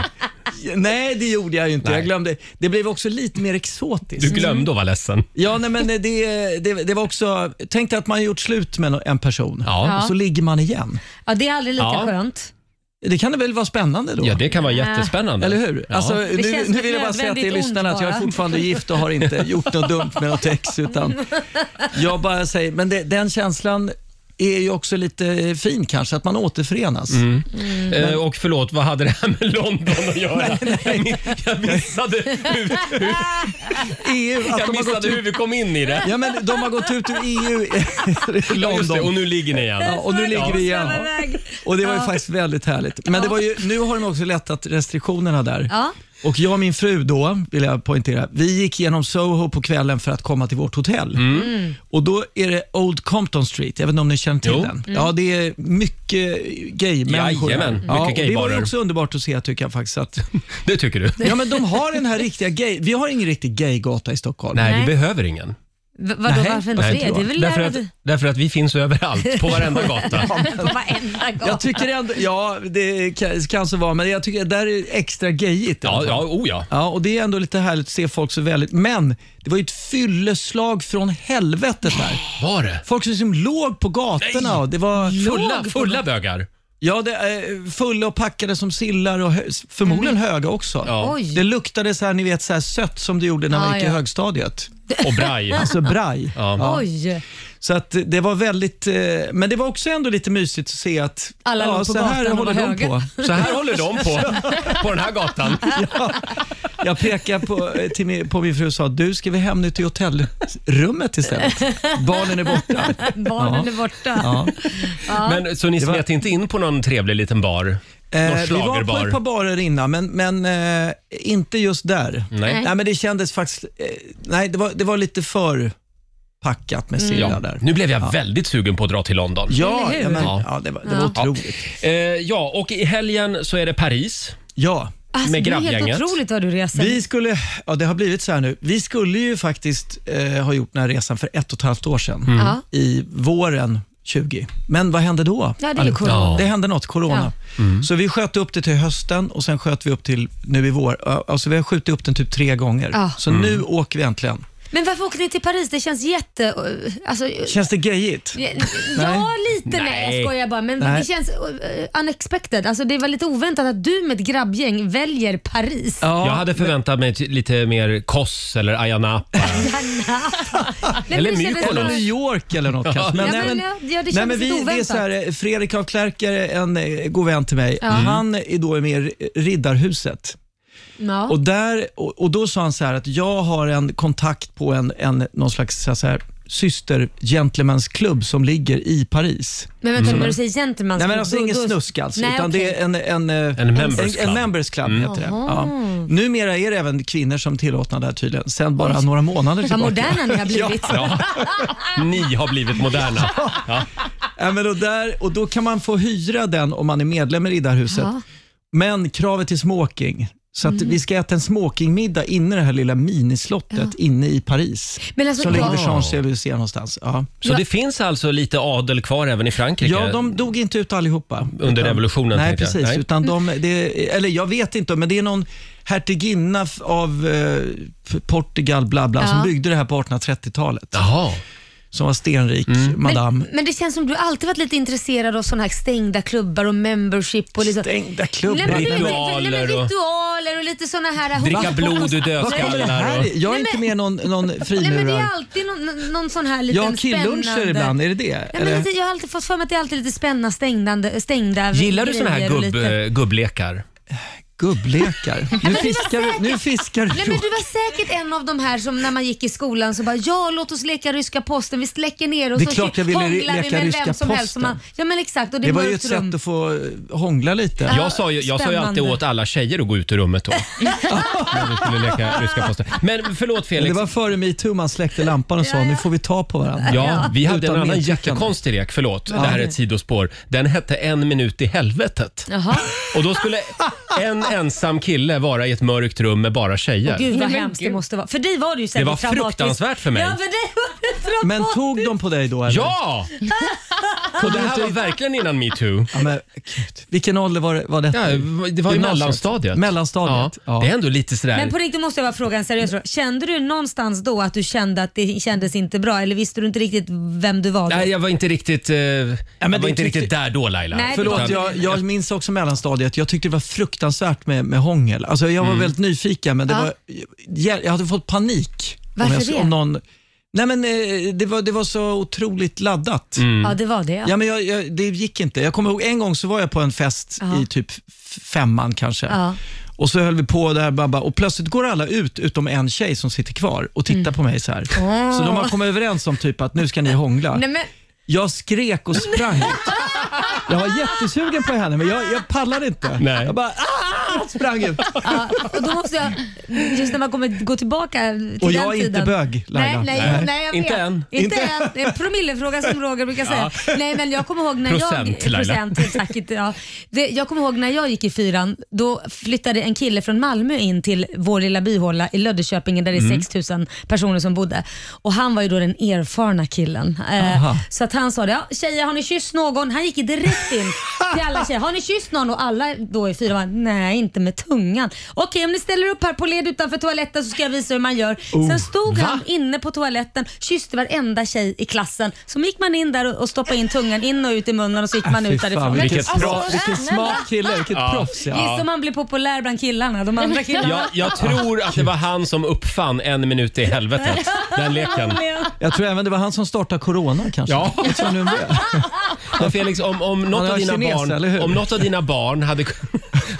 nej, det gjorde jag ju inte. Nej. Jag glömde. Det blev också lite mer exotiskt. Du glömde att vara ledsen. Ja, nej, men det, det, det var också... Tänk dig att man gjort slut med en person Ja. och så ligger man igen. Ja, det är aldrig lika Ja. skönt. Det kan det väl vara spännande då? Ja, det kan vara jättespännande. Eller hur? Mm. Ja. Alltså, nu, känns nu vill jag bara nödvändigt säga till ont lyssnarna att jag är bara. fortfarande gift och *laughs* har inte gjort något dumt med något ex. Utan jag bara säger, men det, den känslan är ju också lite fin kanske, att man återförenas. E Eh, och förlåt, vad hade det här med London att göra? Jag, mi- *laughs* jag missade hur, hur, EU, jag att de har, gått missade hur ut, vi kom in i det. ja, men de har gått ut ur *laughs* EU i Ja, just det, och London. nu ligger ni igen. Ja, och nu ligger vi igen. Och det var ju faktiskt väldigt härligt. Men det var ju, nu har de också lättat restriktionerna där. Ja. Och jag och min fru då, vill jag poängtera, vi gick genom Soho på kvällen för att komma till vårt hotell. Mm. Och då är det Old Compton Street, jag vet inte om ni känner till Jo. Mm. den? Ja, det är mycket gay-människor där. Jajamän, ja, mycket och Det var ju gaybarer. också underbart att se tycker jag faktiskt. Att, Det tycker du? ja, men de har den här riktiga gay, vi har ingen riktig gaygata i Stockholm. Nej, vi Nej. behöver ingen. V- vadå, Nej, varför inte nej, det? inte Det är jag. väl Därför där att, du... därför att vi finns överallt, på varenda gata. På varenda gång. Jag tycker ändå, ja det kan, kan så vara, men jag tycker där är extra gayigt. i alla Ja, fall. ja, oh ja. Ja, och det är ändå lite härligt att se folk så väldigt... Men det var ju ett fylleslag från helvetet där. Var det? Folk som liksom låg på gatorna och det var... Fulla, fulla bögar. Ja, det, eh, fulla och packade som sillar och hö, förmodligen höga också. Mm. Ja. Oj. Det luktade så här, ni vet, så här sött som det gjorde när man Ja, gick i ja. högstadiet. Och braj. Alltså braj. Ja. Oj. Så att eh, det var väldigt... eh, Men det var också ändå lite mysigt att se att... Alla låg ja, på så här gatan och håller var de höga. på. Så här håller de på, på den här gatan. Jag pekade på, eh, till min, på min fru och sa, du ska vi hem nu till hotellrummet istället? Barnen är borta. Barnen Ja. är borta. Ja. Men, så ni var- smet inte in på någon trevlig liten bar? Någon Eh, vi var på ett par schlagerbar? barer innan, men, men eh, inte just där. Nej. men det kändes faktiskt... Eh, nej, det var, det var lite för packat med sillar Ja. där. Nu blev jag väldigt sugen på att dra till London. Mm. Ja, Eller hur? ja, men, Ja. ja. det var, det var otroligt. Eh, ja, och i helgen så är det Paris. Ja, Alltså, Med det är grabbgänget. helt otroligt vad du reser. vi skulle... Ja, det har blivit så här nu. Vi skulle ju faktiskt eh, ha gjort den här resan för ett och ett halvt år sedan. Ja. I våren 20. Men vad hände då? Ja, det är ju allihopa? corona. Ja. Det hände något, corona. Så vi sköt upp det till hösten och sen sköt vi upp till nu i vår. Alltså vi har skjutit upp den typ tre gånger. Ja. Så nu åker vi äntligen. Men varför åkte ni till Paris? Det känns jätte... Alltså, Känns det gayigt? ja, ja, lite. Nej, Nej. jag skojar bara. Men Nej. det känns eh, unexpected. Alltså, det var lite oväntat att du med ett grabbgäng väljer Paris. jag hade förväntat mig t- lite mer Koss eller Ayia Napa. Nej, Eller men det kändes Mykonos. Eller som- New York eller något kanske. Ja, nej, men ja, det kändes nej, men lite vi, det är oväntat. så här, eh, Fredrik af Klerk är en eh, god vän till mig. Mm. Han är då med i Riddarhuset. Ja. Och, där, och, och då sa han så här att jag har en kontakt på en, en någon slags så här, syster gentlemansklubb som ligger i Paris. Men vänta, när du säger gentleman Mm. Nej men så- alltså då- ingen då- snusk alltså, Nej, utan okej. Mm. det är en, en, eh, En members en, club. en members club heter det. Ja. Numera är det även kvinnor som tillåtna där tydligen, sen bara några månader Vad tillbaka. moderna ni har blivit. Ja. Ni har blivit moderna. Ja, men och, där, och då kan man få hyra den om man är medlem i Riddarhuset. Men kravet är smoking. Så Mm. att vi ska äta en smokingmiddag inne i det här lilla minislottet inne i Paris. Men alltså, Som ligger vid jag, Champs-Élysées någonstans. Ja. Så det finns alltså lite adel kvar även i Frankrike? ja, de dog inte ut allihopa. Under revolutionen, Nej, tänkte jag. precis. Nej. Utan de, det, eller jag vet inte, men det är någon hertiginna f- av eh, Portugal, bla bla, som Ja. byggde det här på 1830-talet. Jaha. Som var stenrik Mm. madame. men det känns som du alltid varit lite intresserad av sådana här stängda klubbar och membership. Och liksom. Stängda Nej, klubbar. men, lite- Ritualer nej, men och- ritualer och lite sådana här... Dricka Va? blod ur dödskallar och... Här, jag är Nej, inte men- med någon, någon Nej, men det är frimurar. alltid någon, någon sån här liten Jag har killluncher spännande- ibland, är det det? Nej, men Eller? lite, jag har alltid fått för mig att det är alltid lite spännande, stängdande, stängda Gillar du såna här grejer och gubb, lite- eh, gubblekar? Gubblekar. Nu fiskar, nu fiskar Nej, men du. du var säkert en av de här som när man gick i skolan så bara ja låt oss leka ryska posten, vi släcker ner och Det är så klart jag ville hånglar vi leka med ryska vem som helst. posten. Man, ja men exakt och det, Det var ju mörkt ett rum. sätt att få eh, hångla lite. Jag sa ju, jag sa ju alltid spännande. åt alla tjejer att gå ut ur rummet då. När vi skulle leka ryska posten. Men förlåt Det Felix. var före metoo man släckte lampan och sa nu får vi ta på varandra. Ja, vi hade Utan en annan medtyckande. jättekonstig lek, förlåt, det här är ett sidospår. Den hette En minut i helvetet. Jaha. Och då skulle en ensam kille vara i ett mörkt rum med bara tjejer. Gud vad Nej, men hemskt det gud. måste vara. För dig var det ju säkert var traumatiskt. fruktansvärt för mig. Ja, för dig var *laughs* det traumatiskt. Men tog de på dig då? Eller? ja! *laughs* Och det här var verkligen innan metoo. Ja, men, gud. Vilken ålder var, det- var detta? Ja, det var ju Gymnasiet. mellanstadiet. Mellanstadiet, Ja. ja. Det är ändå lite sådär... Men på riktigt måste jag bara fråga en seriös fråga. Kände du någonstans då att du kände att det kändes inte bra eller visste du inte riktigt vem du var då? Nej, jag var inte riktigt, eh, jag var det inte tyckte- riktigt där då Laila. Nej, det var Utan- Förlåt, jag, jag minns också mellanstadiet. Jag tyckte det var fruktansvärt med, med hångel. Alltså, jag var väldigt nyfiken, men det Mm. Ja. var, jag, jag hade fått panik. Varför om jag, det? Om någon, nej men, eh, det, var, det var så otroligt laddat. Ja, det var det Mm. ja. Ja, men jag, jag, det gick inte. Jag kommer ihåg en gång så var jag på en fest Ja. i typ f- femman kanske. Ja. Och så höll vi på där babba, och plötsligt går alla ut utom en tjej som sitter kvar och tittar Mm. på mig så här. Så de har kommit överens om typ att nu ska ni hångla. Nej, men, Jag skrek och sprang ut. Jag var jättesugen på henne, men jag, jag pallade inte. Nej. Jag bara "Ah!" sprang ut. ja, och då måste jag, just när man kommer gå tillbaka till Och den jag är inte tiden. bög, Laila. Nej, nej, Nej. nej jag Inte vet. än. Inte än. Det är en promillefråga som Roger brukar säga. Nej, men jag kommer ihåg när Procent, jag... Laila. Procent, exakt. inte, Ja. Det, jag kommer ihåg när jag gick i fyran, då flyttade en kille från Malmö in till vår lilla byhåla i Löddeköpingen där det är 6000 personer som bodde. Och han var ju då den erfarna killen. Eh, Aha. så att han sa det, ja, tjejer har ni kysst någon? Han gick ju direkt in till alla tjejer. Har ni kysst någon? Och alla då i fyran bara, nej inte med tungan. Okej om ni ställer upp här på led utanför toaletten så ska jag visa hur man gör. Sen stod han inne på toaletten, kysste varenda tjej i klassen. Så gick man in där och- och stoppade in tungan in och ut i munnen och så gick man Fy ut därifrån. vilken, Vilket bra- vilken smart kille, vilket proffs. Ja. Gissa om han blev populär bland killarna, de andra killarna. Jag, jag tror att det var han som uppfann en minut i helvetet. Den leken. Jag tror även det var han som startade corona kanske. Ja. Jag tror nu med. Men Felix, om, om, Han något är av dina kines, eller barn, hur? om något av dina barn hade...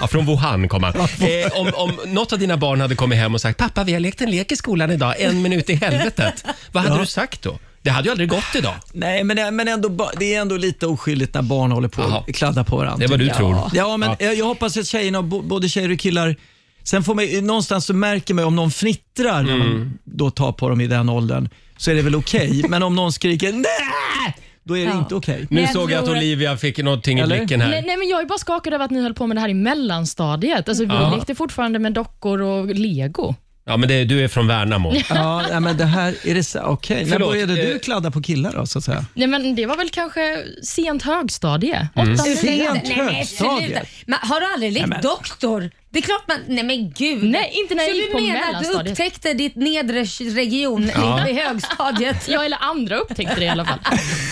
Ja, från Wuhan kom han. Eh, om, om något av dina barn hade kommit hem och sagt “Pappa, vi har lekt en lek i skolan idag, en minut i helvetet”. Vad hade du sagt då? Det hade ju aldrig gått idag. Nej, men, men ändå, ba- det är ändå lite oskyldigt när barn håller på Jaha. och kladdar på varandra. Det är vad du tycker tror. jag. Ja, men Jag, jag hoppas att tjejerna, bo- både tjejer och killar, sen får man ju- någonstans så märker man ju om någon fnittrar när Mm. man då tar på dem i den åldern, så är det väl okej. *laughs* Men om någon skriker nej, då är det Ja. inte okej. Nu jag såg jag att tror- Olivia fick någonting i Eller? blicken här. Nej, nej, men jag är bara skakad över att ni höll på med det här i mellanstadiet. Alltså, Vi lekte fortfarande med dockor och lego. Ja, men det, du är från Värnamo. Ja, nej, men det här, är det så- okej. När Förlåt, började du eh, kladda på killar då, så att säga? Nej, men det var väl kanske sent högstadie? Åttan, nian? Sent högstadiet? Men har du aldrig lekt doktor? Det är klart man... Nej men gud. Nej, inte när jag Så gick du på menar att du mellanstadiet. upptäckte ditt nedre region i högstadiet? Ja, eller andra upptäckte det i alla fall.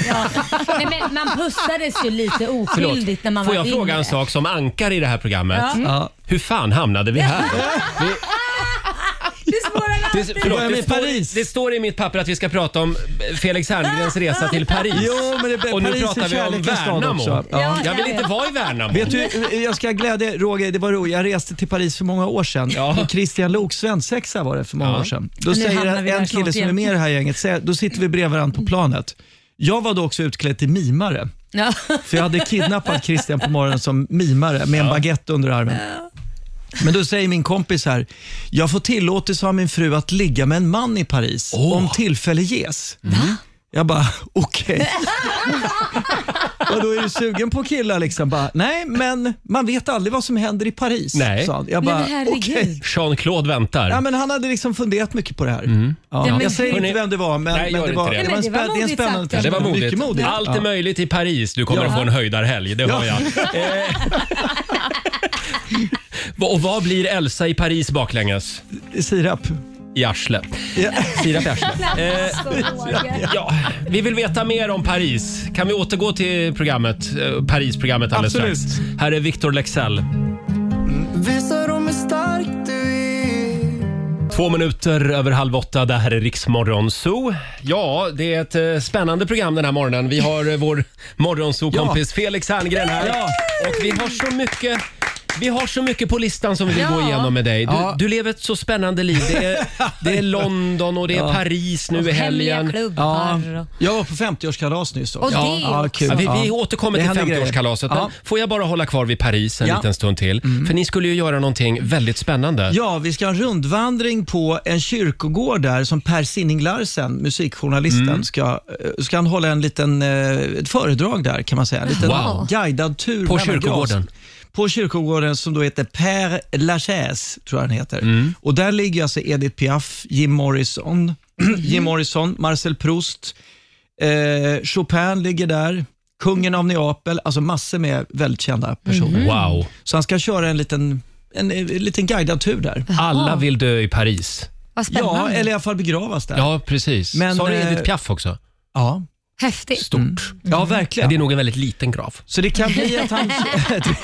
Ja. Nej, men man pussades ju lite oskyldigt när man Får var jag yngre. fråga en sak som ankar i det här programmet? Ja. Hur fan hamnade vi här? Vi, Det är svårare än det, förlåt, börjar det, med Paris. står, det står i mitt papper att vi ska prata om Felix Herngrens resa till Paris. Jo, men det, Och nu Paris är pratar vi om kärlekens stad Värnamo. också. Ja. Jag vill inte vara i Värnamo. Vet du, jag ska glädja er, Roger, det var roligt. Jag reste till Paris för många år sedan. Ja. På Christian Loks svensexa var det för många Ja. år sedan. Då Nu säger hamnar vi där en snart kille som igen. är med i det här gänget, säger- då sitter vi bredvid varandra på planet. Jag var då också utklädd till mimare, Ja. för jag hade kidnappat Christian på morgonen som mimare med en baguette under armen. Men då säger min kompis här, jag får tillåtelse av min fru att ligga med en man i Paris Åh. Mm. om tillfälle ges. Jag bara, *laughs* okej. *laughs* Och då är du sugen på killar liksom. Bara, Nej, men man vet aldrig vad som händer i Paris. Nej. sa han. Jag Nej, bara, men okej. herregud. Jean-Claude väntar. Ja, men han hade liksom funderat mycket på det här. Mm. Ja. Ja, men jag säger hörni- inte vem det var, men, Nej, gör men det, inte var, det. var, en Nej, men det var spä- det är en modigt spännande sagt. det var modigt. Mycket modigt. Allt Ja. är möjligt i Paris. Du kommer Ja. att få en höjdarhelg, det hör jag. *laughs* Eh. *laughs* Och vad blir Elsa i Paris baklänges? Sirap. I arslet. Ja. Sirap i arslet. Eh, *laughs* Ja, vi vill veta mer om Paris. Kan vi återgå till programmet, eh, Paris-programmet alldeles Absolut. strax? Här är Victor Lexell. Två minuter över halv åtta, det här är Riksmorgon Zoo. Ja, det är ett eh, spännande program den här morgonen. Vi har eh, vår morgonzoo-kompis Felix Herngren här. Ja. Och vi har så mycket vi har så mycket på listan som vi vill gå igenom med dig. Du, Ja. du lever ett så spännande liv. Det är, *laughs* det är London och det är Paris nu i helgen. Hemliga klubbar Ja. och... Jag var på 50-årskalas nyss också. Och det också. Ja, vi, vi Ja. återkommer Det till händer grejer. 50-årskalaset. Ja. Men Får jag bara hålla kvar vid Paris en Ja. Mm. liten stund till? För ni skulle ju göra någonting väldigt spännande. Ja, vi ska ha en rundvandring på en kyrkogård där som Per Sinning Larsen, musikjournalisten, Mm. ska, eh, ska han hålla en liten, eh, ett föredrag där kan man säga. En liten Wow. guidad tur. På mellan kyrkogården? gravs- på kyrkogården som då heter Père Lachaise, tror jag den heter. Mm. Och där ligger alltså Edith Piaf, Jim Morrison, *clears throat* Jim Morrison Marcel Proust, eh, Chopin ligger där, kungen av Neapel, alltså massor med väldigt kända personer. Wow. Så han ska köra en liten, en, en liten guidad tur där. Alla vill dö i Paris. Vad Ja, spännande. eller i alla fall begravas där. Ja, precis. Men, Sa du eh, Edith Piaf också? ja. Häftigt. Stort. Ja, Mm. Men verkligen. det är nog en väldigt liten grav. Så det kan bli *laughs* att han... *laughs*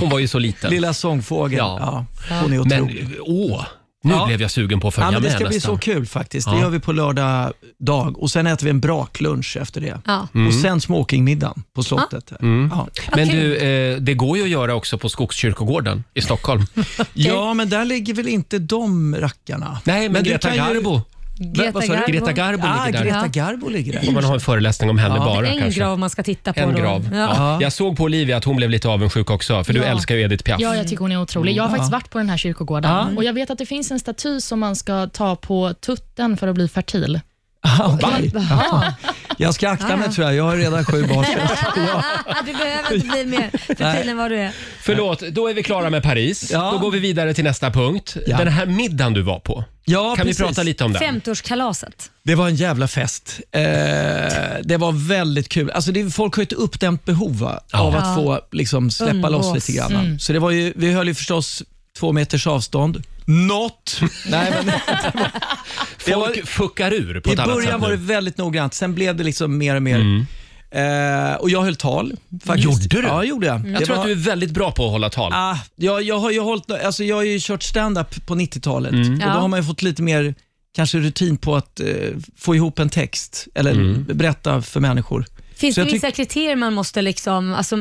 Hon var ju så liten. Lilla sångfågeln. Ja. Ja. Hon är Men otrolig. åh, nu Ja. blev jag sugen på att följa Ja, men det med ska bli nästan. så kul faktiskt. Ja. Det gör vi på lördag dag och sen äter vi en braklunch efter det. Ja. Och Mm. sen smokingmiddagen på slottet. här. Ja. Men du, eh, det går ju att göra också på Skogskyrkogården i Stockholm. ja, men där ligger väl inte de rackarna? Nej, men, du Greta kan ju- Garbo. Greta vad sa du? Garbo. Greta Garbo Ah, ligger där. Greta Garbo ligger Om där. man har en föreläsning om henne bara en kanske. grav man ska titta på En då. grav. Ja. Ja. Jag såg på Olivia att hon blev lite avundsjuk också, för du Ja. älskar ju Edith Piaf. Ja, Mm. jag tycker hon är otrolig. Jag har faktiskt varit på den här kyrkogården och jag vet att det finns en staty som man ska ta på tutten för att bli fertil. Ah, okej. Ja. Jag ska akta mig tror jag. Jag har redan sju *laughs* barn. Du behöver inte bli mer fertil än vad du är. Förlåt, då är vi klara med Paris. Ja. Då går vi vidare till nästa punkt. Ja. Den här middagen du var på, Ja, kan vi precis. prata lite om den? 50-årskalaset. Det var en jävla fest. Eh, det var väldigt kul. Alltså det, folk har ju ett uppdämt behov va, av att få liksom, släppa Umgås. loss lite grann. va. Mm. Så det var ju, vi höll ju förstås två meters avstånd. Not! Nej, men, Folk det fuckar ur på I ett annat sätt början var nu. det väldigt noggrant, sen blev det liksom mer och mer. Eh, och jag höll tal. Faktiskt. Gjorde du? Mm. Ja, gjorde jag. Jag tror att du är väldigt bra på att hålla tal. Ah, jag, jag har ju hållit, alltså jag har ju kört stand-up på 90-talet Mm. och Ja. då har man ju fått lite mer kanske rutin på att eh, få ihop en text eller Mm. berätta för människor. Finns Så det jag vissa kriterier man måste liksom, alltså,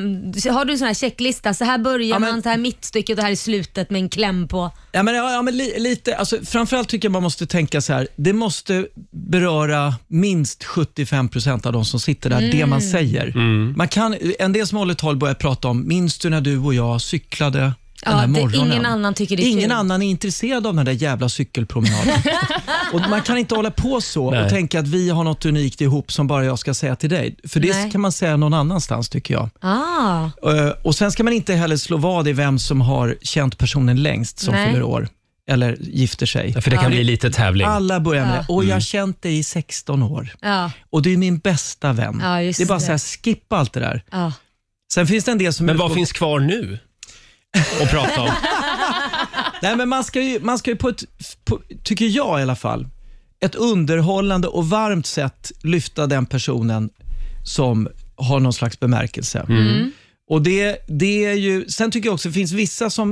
har du en sån här checklista? Så här börjar Ja, men- man, så här mittstycket och det här är slutet med en kläm på. Ja, men, ja, ja, men li, lite, alltså, framförallt tycker jag man måste tänka så här, det måste beröra minst 75% av de som sitter där, det Mm. man säger. Man kan, en del som håller tal börjar prata om, minns du när du och jag cyklade den Ja, det- här morgonen? ingen annan tycker det är Ingen kul. annan är intresserad av den där *laughs* jävla cykelpromenaden. och man kan inte hålla på så Nej. och tänka att vi har något unikt ihop som bara jag ska säga till dig. För det Nej. kan man säga någon annanstans tycker jag. Ah, Eh, Och Sen ska man inte heller slå vad i vem som har känt personen längst som Nej. fyller år eller gifter sig. För det kan bli lite tävling. Alla börjar med det. Och Mm. jag har känt dig i 16 år. ja. Och du är min bästa vän. Ja, just det är bara det. så här, skippa allt det där. ja. Sen finns det en del som... Men vad finns kvar nu att prata om? Nej, men man ska ju, man ska ju på ett, på, tycker jag i alla fall, ett underhållande och varmt sätt lyfta den personen som har någon slags bemärkelse. Och det, det är ju, sen tycker jag också det finns vissa som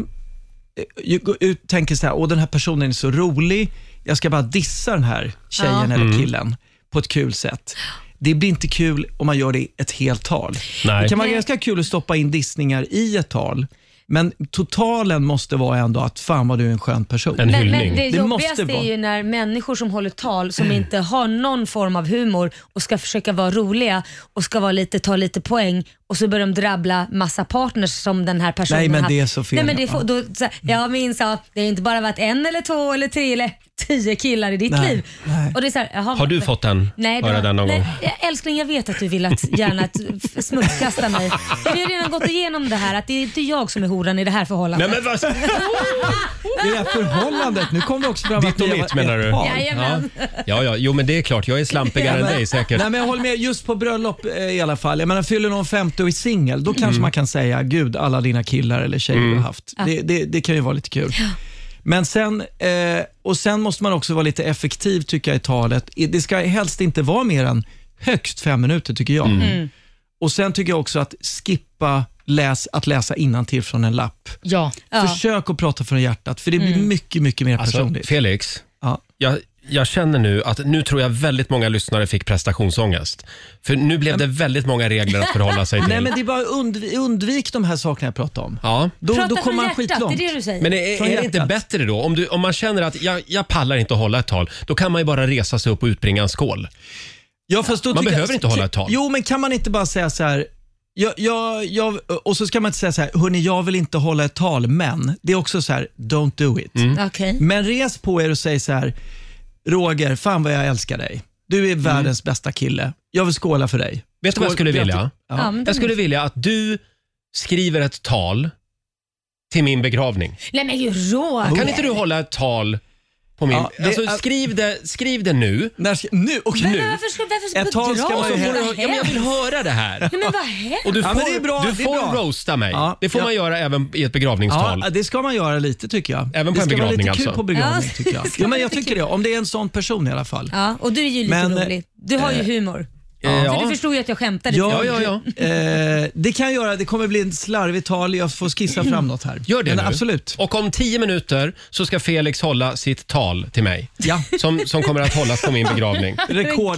eh, ju, går ut, tänker så här, åh den här personen är så rolig, jag ska bara dissa den här tjejen eller killen på ett kul sätt. Det blir inte kul om man gör det i ett helt tal. Nej. Det kan vara ganska kul att stoppa in dissningar i ett tal, men totalen måste vara ändå att fan vad du är en skön person. En Men, hyllning. men det, Det måste jobbigaste är vara. ju när människor som håller tal som inte har någon form av humor och ska försöka vara roliga och ska vara lite, ta lite poäng och så börjar de drabbla massa partners som den här personen Nej, men haft. det är så fel. Nej, men det får, då, så, här, jag minns att det har inte bara varit en eller två eller tre eller tio killar i ditt Nej, liv. nej. Och det är så här, jaha, Har du fått den? Nej, Höra det- den någon nej, gång? Älskling, jag vet att du vill att, gärna att f- smutskasta *laughs* mig. Vi har ju redan gått igenom det här att det är inte jag som är horan i det här förhållandet. Nej, men vad... I det här förhållandet, nu kom det också fram Ditt och vi mitt var menar ett du? par. Ja. Jajamän. ja, ja, jo men det är klart. Jag är slampigare än dig säkert. Nej, men jag håller med, just på bröllop eh, i alla fall. Jag menar, fyller någon 50 och är singel, då Mm. kanske man kan säga gud alla dina killar eller tjejer du har haft. Det, det, det kan ju vara lite kul. Men sen, eh, och sen måste man också vara lite effektiv tycker jag i talet. I- Det ska helst inte vara mer än högst fem minuter tycker jag. Mm. Och Sen tycker jag också att skippa läs, att läsa innantill från en lapp. Ja. Försök att prata från hjärtat, för det blir mycket, mycket mer Alltså, personligt. Felix, Ja. jag, jag känner nu att nu tror jag väldigt många lyssnare fick prestationsångest. För nu blev det väldigt många regler att förhålla sig till. *laughs* Nej, men det är bara undvik, undvik de här sakerna jag pratar om. Ja. Då, Prata då kommer från man hjärtat, skitlångt. det är det du säger. Men är, Från är det inte hjärtat. bättre då? Om, du, om man känner att jag, jag pallar inte att hålla ett tal, då kan man ju bara resa sig upp och utbringa en skål. Ja, fast då Man tycker jag- behöver inte hålla ett tal. Jo, men kan man inte bara säga så här, jag, jag, jag, och så ska man inte säga så här, hörni, jag vill inte hålla ett tal, men. Det är också så här, don't do it. Mm. Okej. Men res på er och säg så här, Roger, fan vad jag älskar dig. Du Mm. är världens bästa kille. Jag vill skåla för dig. Vet du vad jag skulle vilja? typ. Ja. men det- Jag skulle vilja att du skriver ett tal till min begravning. Nej men gud, Roger. Kan inte du hålla ett tal på min... Ja, det- alltså, skriv, det, skriv det nu. När ska, nu? Och Men nu? varför ska varför Ett tal ska man ju begravning hellre- vara Ja, men jag vill hemskt? höra det här. Nej men vad hemskt. Och du Ja, får, men det är bra, du det är får bra. roasta mig. Ja, det får ja. man göra även i ett begravningstal. Ja, äh, det ska man göra lite tycker jag. Även på det en ska vara begravning, lite kul alltså. på begravning Ja, tycker jag. det ska Ja, vara men jag lite tycker det. Om det är en sån person i alla fall. Ja, och du är ju lite Men, rolig. Du har ju humor. Eh, För du ja. förstod ju att jag skämtade. Ja, ja, ja. Eh, det kan jag göra. Det kommer bli ett slarvigt tal. Jag får skissa fram något här. Mm. Gör det men nu. Absolut. Och om tio minuter så ska Felix hålla sitt tal till mig. Ja. Som, som kommer att hållas på min begravning. Rekord.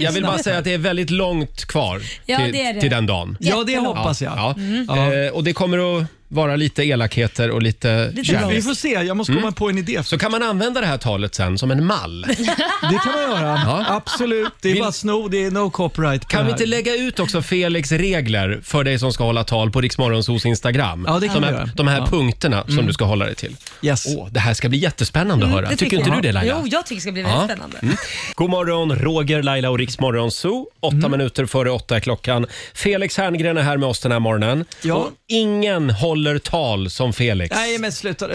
*laughs* Jag vill bara säga att det är väldigt långt kvar Ja, till, det är det. till den dagen. Ja, det hoppas jag. Mm. Ja. Eh, och det kommer att vara lite elakheter och lite, Lite kärlek. Ja. Vi får se. Jag måste komma på en idé. Mm. Så kan man använda det här talet sen som en mall. Det kan man göra. Ja. Absolut. Det är Vill- bara att sno. Det är no copyright. på Kan vi det inte här. lägga ut också Felix regler för dig som ska hålla tal på Riksmorgonsos Instagram? Ja, det kan de vi här, göra. de här Ja. Mm. punkterna som du ska hålla dig till. Yes. Åh, det här ska bli jättespännande Mm, att höra. Det Tycker inte jag. du Mm, det Laila? Jo, jag tycker det ska bli väldigt Ja. Mm. spännande. God morgon, Roger, Laila och Riksmorgon Zoo. Åtta Mm. minuter före åtta är klockan. Felix Herngren är här med oss den här morgonen. Ja. Och ingen håller tal som Felix. Nej, men sluta.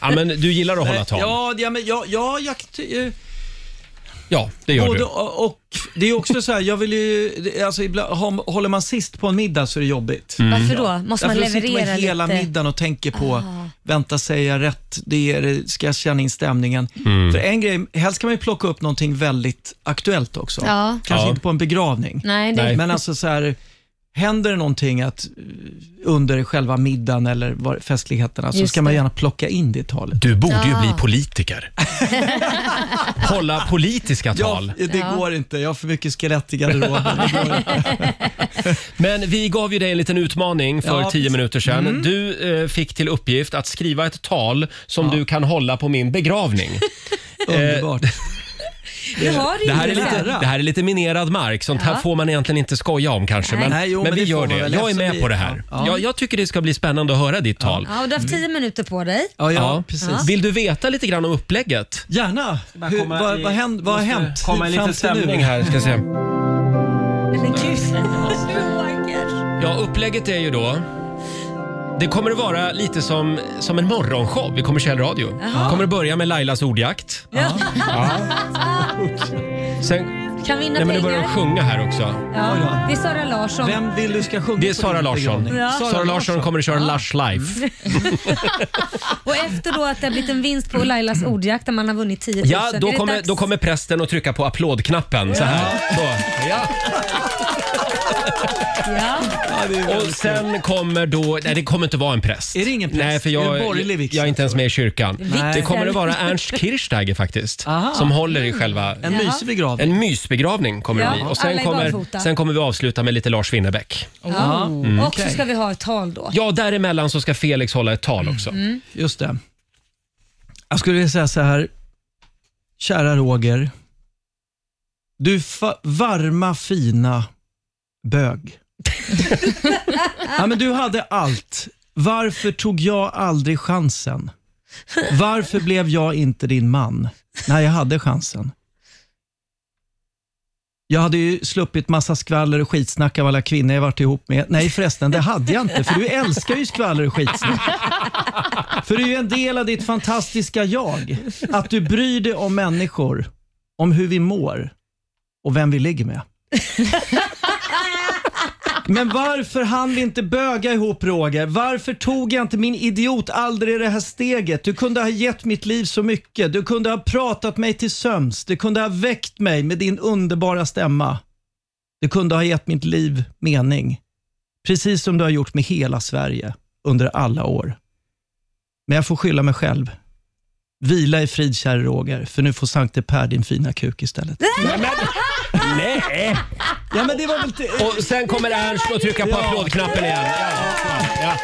Ja, men du gillar att *laughs* hålla tal? Ja, ja, ja, men ja, ja, jag... eh, det gör Både du. och, och det är också så här, jag vill ju, alltså ibland, har- håller man sist på en middag så är det jobbigt. Mm. Varför då? Måste man Därför då sitter leverera man hela lite? Ah. middagen och tänker på, vänta säger jag rätt? Det är, det- ska jag känna in stämningen? Mm. För en grej, helst kan man ju plocka upp någonting väldigt aktuellt också. Ja. Kanske Ja. inte på en begravning. Nej, det... Nej. Men alltså så här, händer det någonting att, eh, under själva middagen eller var- festligheterna så Just ska man det. gärna plocka in det i talet. Du borde ju Ja. bli *laughs* politiker. Hålla politiska tal. Ja, det Ja. går inte. Jag har för mycket skelett i garderoben. Det går inte. Men vi gav ju dig en liten utmaning för Ja, tio precis. minuter sedan. Du eh, fick till uppgift att skriva ett tal som du kan hålla på min begravning. Eh, Underbart. Du har *laughs* ju Det här, är inte lite, Nära. det här är lite minerad mark. Sånt här får man egentligen inte skoja om kanske. Men, Nej, jo, men men vi det får gör man det. väl Jag är eftersom med vi- på det här. ja. Jag, jag tycker det ska bli spännande att höra ditt tal. Ja, och du har haft tio minuter på dig. Ja, ja, Ja. precis. Vill du veta lite grann om upplägget? Gärna. Hur, komma vad, i- vad, händ, vad har hänt? fram till nu? här. Ska se. Men gud, Roger. Ja, upplägget är ju då... Det kommer att vara lite som, som en morgonshow i kommersiell radio. kommer att börja med Lailas ordjakt. Ja. Sen, Kan vinna nej, men nu börjar de pengar. sjunga här också. Ja. Det är Sara Larsson. Vem vill du ska sjunga Det är på Sara din Larsson. begravning? Ja. Sara Larsson kommer att köra Lush Mm. Life. Och efter då att det har blivit en vinst på Lailas ordjakt där man har vunnit 10 000. Ja, är då det kommer, dags? då kommer prästen att trycka på applådknappen så här. Så, ja. Ja. Ja, det är Och väldigt kul. sen kommer då... Nej, det kommer inte vara en präst. Är det ingen präst? Nej, för Är jag, det en borgerlig vigsel? alltså. jag är inte ens med i kyrkan. Nej. Det kommer att vara Ernst Kirchsteiger faktiskt, Aha. som håller i själva... en mysig begravning. En mysbegravning kommer det Ja, bli. Och alla sen är kommer, barfota. sen kommer vi avsluta med lite Lars Winnerbäck. Ja. Och så Mm. Okej. ska vi ha ett tal då. Ja, däremellan så ska Felix hålla ett tal också. Mm. Just det. Jag skulle vilja säga så här. Kära Roger. Du fa- varma, fina bög. ja, men du hade allt. Varför tog jag aldrig chansen? Varför blev jag inte din man när jag hade chansen? Jag hade ju sluppit massa skvaller och skitsnack av alla kvinnor jag varit ihop med. Nej förresten, det hade jag inte, för du älskar ju skvaller och skitsnack. För det är ju en del av ditt fantastiska jag. Att du bryr dig om människor, om hur vi mår och vem vi ligger med. Men varför hann vi inte böga ihop Roger? Varför tog jag inte min idiot aldrig det här steget? Du kunde ha gett mitt liv så mycket. Du kunde ha pratat mig till sömns. Du kunde ha väckt mig med din underbara stämma. Du kunde ha gett mitt liv mening. Precis som du har gjort med hela Sverige under alla år. Men jag får skylla mig själv. Vila i frid käre Roger, för nu får Sankte Per din fina kuk istället. Nej! Ja men det var väl... T- Och sen kommer Mm. Ernst att trycka på Ja. applådknappen igen. Ja, ja,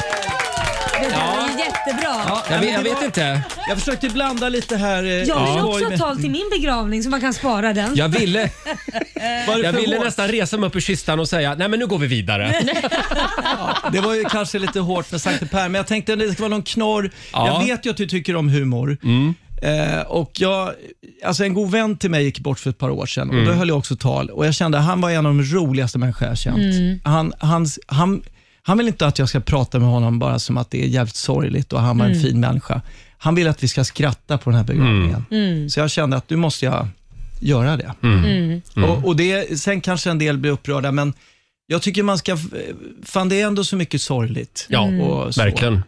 Det där var ju jättebra. Ja, Jag, men vet, jag det vet var- inte. Jag försökte typ blanda lite här. eh, Jag vill skoj också ha med- ett tal till min begravning så man kan spara den. Jag *laughs* ville, Var det jag för ville hårt? nästan resa mig upp ur kistan och säga nej men nu går vi vidare. Det var ju kanske lite hårt med Sankte Per, men jag tänkte att det ska vara någon knorr. Ja. Jag vet ju att du tycker om humor. Eh, och jag, alltså en god vän till mig gick bort för ett par år sedan Mm. och då höll jag också tal och jag kände att han var en av de roligaste människor jag känt. Han, han, han Han vill inte att jag ska prata med honom bara som att det är jävligt sorgligt och han var Mm. en fin människa. Han vill att vi ska skratta på den här begravningen. Mm. Så jag kände att nu måste jag göra det. Mm. Och, och det. Sen kanske en del blir upprörda, men jag tycker man ska... Fan, det är ändå så mycket sorgligt. Ja, och så. verkligen.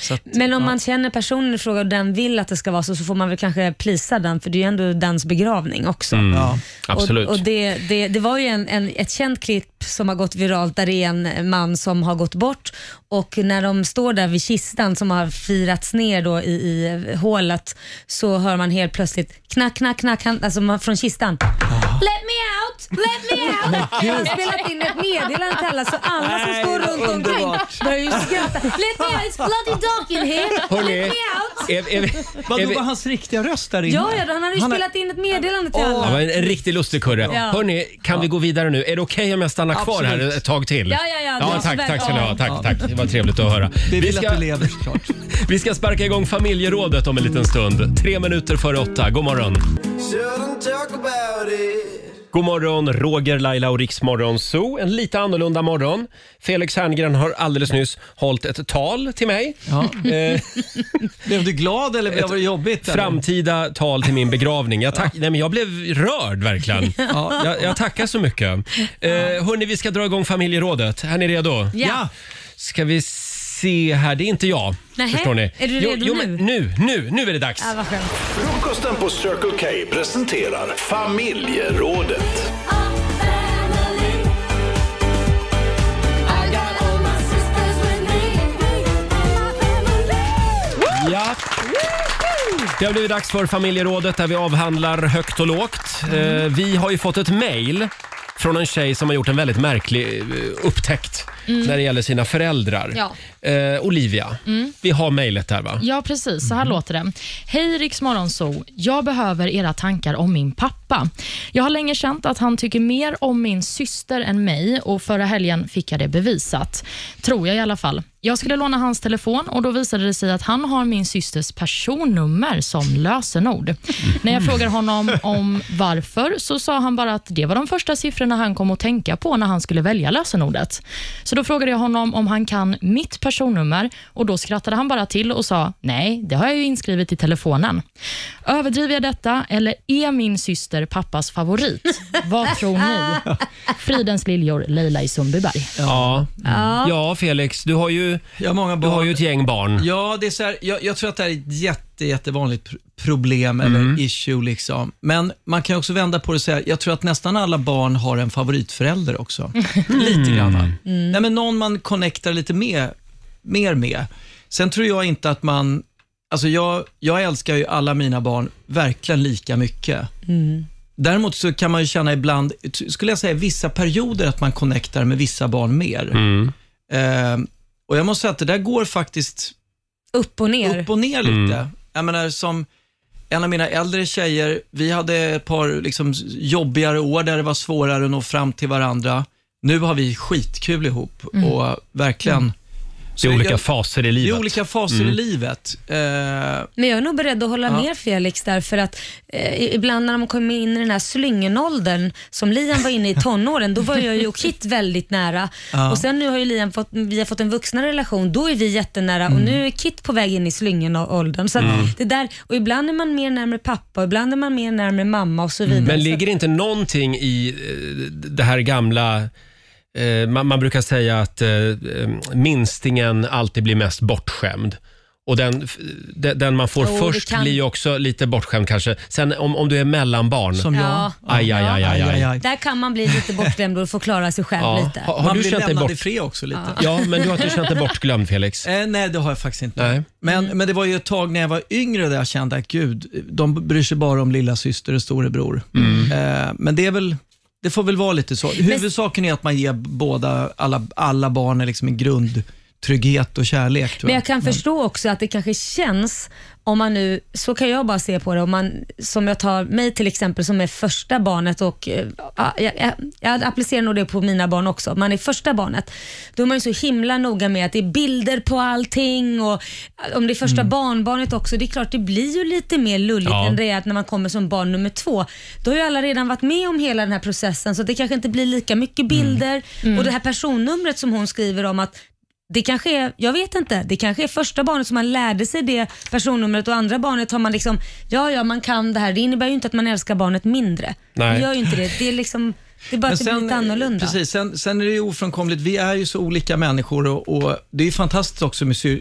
Så att, Men om ja. man känner personen i fråga och den vill att det ska vara så, så får man väl kanske plisa den, för det är ju ändå dens begravning också. Ja. Absolut. Och, och det, det, det var ju en, en, ett känt klipp som har gått viralt där det är en man som har gått bort och när de står där vid kistan som har firats ner då i, i hålet så hör man helt plötsligt knack, knack, knack, han, alltså man, från kistan. Let me out! Let me out! Han har spelat in ett meddelande till alla så alla som Nej, står runt omkring underbart. börjar ju skratta. Let me out, it's bloody dark in here! Hörrni, Let me out! Är, är, vi- *laughs* är, Vadå, vi- var hans riktiga röst där inne? Ja, ja, han hade ju Han har- spelat in ett meddelande till Ja, alla. men en riktig lustig kurre. Ja. Hörni, kan vi gå vidare nu? Är det okej om jag stannar kvar Absolut. här ett tag till? Ja, ja, ja, det är så tack, väl- tack ska ni ha. Tack, tack. Det var trevligt att höra. Vi Vi vill ska, att du lever såklart. vi ska sparka igång familjerådet om en liten stund. Tre minuter före åtta. God morgon. God morgon, Roger, Laila och Riksmorgon Zoo. En lite annorlunda morgon. Felix Herngren har alldeles nyss hållit ett tal till mig. Ja. Eh, Blev du glad eller blev det jobbigt? eller? framtida tal till min begravning. Jag, tack, nej, men jag blev rörd *laughs* verkligen. Ja. Jag, jag tackar så mycket. Eh, hörni, vi ska dra igång familjerådet. Är ni redo? Ja. Ska vi se här. Det är inte jag. Nähä. Förstår ni? Är du jo, redo jo, nu? Men nu? Nu nu är det dags. Ja, vad skönt. Frukosten på Circle K presenterar Familjerådet. Ja. Det har blivit dags för familjerådet där vi avhandlar högt och lågt. Eh, vi har ju fått ett mejl från en tjej som har gjort en väldigt märklig eh, upptäckt när det gäller sina föräldrar. Ja. Eh, Olivia, vi har mejlet där va? Ja, precis. Så här låter det. Hej Rix Morgonzoo. Jag behöver era tankar om min pappa. Jag har länge känt att han tycker mer om min syster än mig och förra helgen fick jag det bevisat. Tror jag i alla fall. Jag skulle låna hans telefon och då visade det sig att han har min systers personnummer som lösenord. När *laughs* jag frågar honom om varför så sa han bara att det var de första siffrorna han kom att tänka på när han skulle välja lösenordet. Så då frågade jag honom om han kan mitt personnummer och då skrattade han bara till och sa nej, det har jag ju inskrivet i telefonen. Överdriver jag detta eller är min syster pappas favorit? Vad tror ni? Fridens liljor, Leila i Sundbyberg. Ja. ja, Felix, du har ju, Jag har många du barn. har ju ett gäng barn. Ja, det är så här, jag, jag tror att det här är ett jätte, jättevanligt pr- problem eller issue. Liksom. Men man kan också vända på det och säga, jag tror att nästan alla barn har en favoritförälder också. Lite grann. va? Nej, men någon man connectar lite med, mer med. Sen tror jag inte att man... Alltså jag, jag älskar ju alla mina barn verkligen lika mycket. Däremot så kan man ju känna ibland, t- skulle jag säga vissa perioder, att man connectar med vissa barn mer. Eh, och jag måste säga att det där går faktiskt Upp och ner. upp och ner lite. Mm. Jag menar, som en av mina äldre tjejer, vi hade ett par liksom, jobbigare år där det var svårare att nå fram till varandra. Nu har vi skitkul ihop och verkligen... Det Så är olika jag- faser i det livet. Mm. är olika faser i livet. Eh, Men jag är nog beredd att hålla med Felix där för att eh, ibland när de kommer in i den här slyngenåldern som Liam var inne i i tonåren, då var jag ju och Kit väldigt nära. Och sen nu har ju Liam fått, vi har fått en vuxnare relation, då är vi jättenära Mm. och nu är Kit på väg in i slyngenåldern. Så att det där, och ibland är man mer närmare pappa, och ibland är man mer närmare mamma och så vidare. Mm. Men Så ligger det inte någonting i eh, det här gamla eh, man, man brukar säga att eh, eh, minstingen alltid blir mest bortskämd. Och den, f- de- den man får Jo, det först kan- blir ju också lite bortskämd kanske. Sen om, om du är mellanbarn. som Ja. jag. Aj, aj, aj, aj, aj. att där kan man bli lite bortglömd och få klara sig själv Ja. lite. Har, har Man du blir känt dig lämnad bort... i fred också lite. Ja, men du har inte känt dig bortglömd Felix? Eh, nej, det har jag faktiskt inte. Nej. Men, Mm. men det var ju ett tag när jag var yngre där jag kände att gud, de bryr sig bara om lilla syster och storebror. Eh, men det är väl det får väl vara lite så. Huvudsaken är att man ger båda, alla, alla barn liksom en grundtrygghet och kärlek. Tror Men jag. Mm. jag kan förstå också att det kanske känns, om man nu, så kan jag bara se på det, om man, som jag tar mig till exempel som är första barnet och eh, ja, jag, jag applicerar nog det på mina barn också, man är första barnet, då är man ju så himla noga med att det är bilder på allting och eh, om det är första Mm. barnbarnet också, det är klart det blir ju lite mer lulligt Ja. än det är att när man kommer som barn nummer två. Då har ju alla redan varit med om hela den Mm. här processen så det kanske inte blir lika mycket bilder och det här personnumret som hon skriver om att Det kanske är, jag vet inte, det kanske är första barnet som man lärde sig det personnumret och andra barnet har man liksom, ja ja man kan det här. Det innebär ju inte att man älskar barnet mindre. Nej. Det gör ju inte det. Det är liksom, det är bara att det blir lite annorlunda. Precis, sen, sen är det ju ofrånkomligt. Vi är ju så olika människor och, och det är ju fantastiskt också med sy,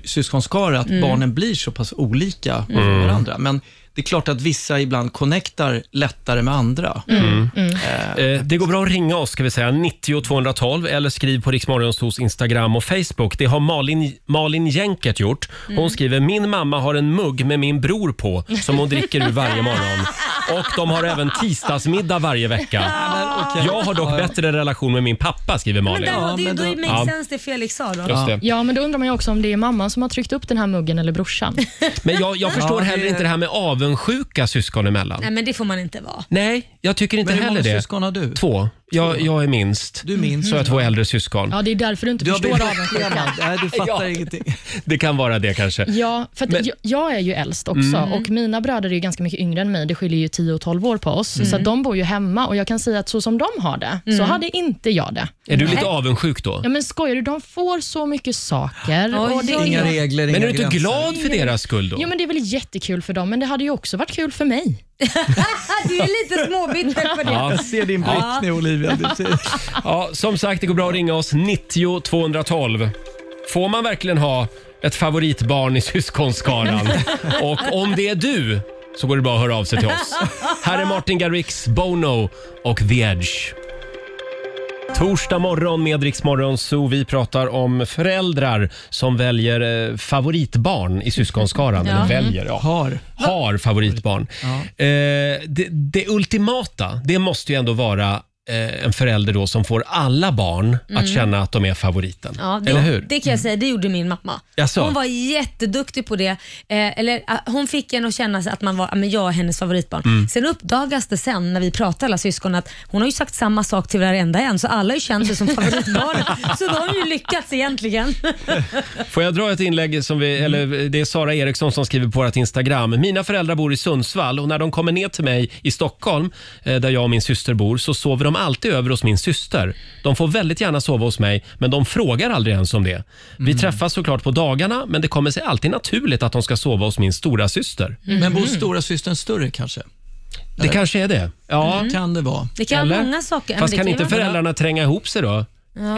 Mm. syskonskara att barnen blir så pass olika från varandra. Men det är klart att vissa ibland connectar lättare med andra. Eh, Det går bra att ringa oss ska vi säga, 90 212 eller skriv på Riksmorgonsos Instagram och Facebook. Det har Malin, Malin Jänket gjort. Hon Mm. skriver “Min mamma har en mugg med min bror på som hon dricker ur varje morgon. Och de har även tisdagsmiddag varje vecka. Jag har dock bättre relation med min pappa” skriver Men Malin. där, var det ju men då då- makes Ja. sense det Felix sa då. Just det. Ja, men då undrar man ju också om det är mamman som har tryckt upp den här muggen eller brorsan. Men jag, jag förstår Ja, det- heller inte det här med avundsjuka syskon emellan. Nej men det får man inte vara. Nej, jag tycker inte Men hur heller många det. syskon har du? Två. Jag, jag är minst. Du är minst. Så jag har två äldre syskon. Ja, det är därför du inte Du har förstår blivit avundsjukan. avundsjuk. Nej, du fattar Ja. ingenting. Det kan vara det kanske. Ja, för att Men- jag, jag är ju äldst också Mm. och mina bröder är ju ganska mycket yngre än mig. Det skiljer ju 10 och 12 år på oss. Mm. Så att de bor ju hemma och jag kan säga att så som de har det, så hade inte jag det. Är du lite avundsjuk då? Ja, men skojar du? De får så mycket saker. Oj, och det oj, Inga oj. är, regler, inga Men är du inte gränser. glad för deras skull då? jo, men det är väl jättekul för dem, men det hade ju också varit kul för mig. Ah, *laughs* du är lite småbitter på det. Ja. Jag ser din blick nu Olivia. Du *laughs* ser. ja, som sagt, det går bra att ringa oss 90 212. Får man verkligen ha ett favoritbarn i *laughs* syskonskaran? Och om det är du så går det bra att höra av sig till oss. Här är Martin Garrix, Bono och The Edge. Torsdag morgon med Rix Morgon Zoo. Vi pratar om föräldrar som väljer eh, favoritbarn i syskonskaran. Eller väljer, ja. Har. har favoritbarn. Eh, det, det ultimata, det måste ju ändå vara eh, en förälder då som får alla barn att känna att de är favoriten. Mm. Ja, det, Eller hur? Det kan jag säga, det gjorde min mamma. Jaså? Hon var jätteduktig på det. Eh, eller, ah, hon fick en att känna sig att man var, ah, men jag är hennes favoritbarn. Sen uppdagas det sen när vi pratade alla syskon att hon har ju sagt samma sak till varenda en, så alla har ju känt sig som favoritbarn. så då har hon ju lyckats egentligen. Får jag dra ett inlägg som Mm. vi, eller det är Sara Eriksson som skriver på vårt Instagram. Mina föräldrar bor i Sundsvall och när de kommer ner till mig i Stockholm eh, där jag och min syster bor så sover de alltid över hos min syster. De får väldigt gärna sova hos mig men de frågar aldrig ens om det. Vi Mm. träffas såklart på dagarna men det kommer sig alltid naturligt att de ska sova hos min stora syster. Men bor stora systern större kanske? Det kanske är det. Ja. Kan det vara. Det kan Eller? vara många saker. Fast Det kan ju inte vara- föräldrarna tränga ihop sig då?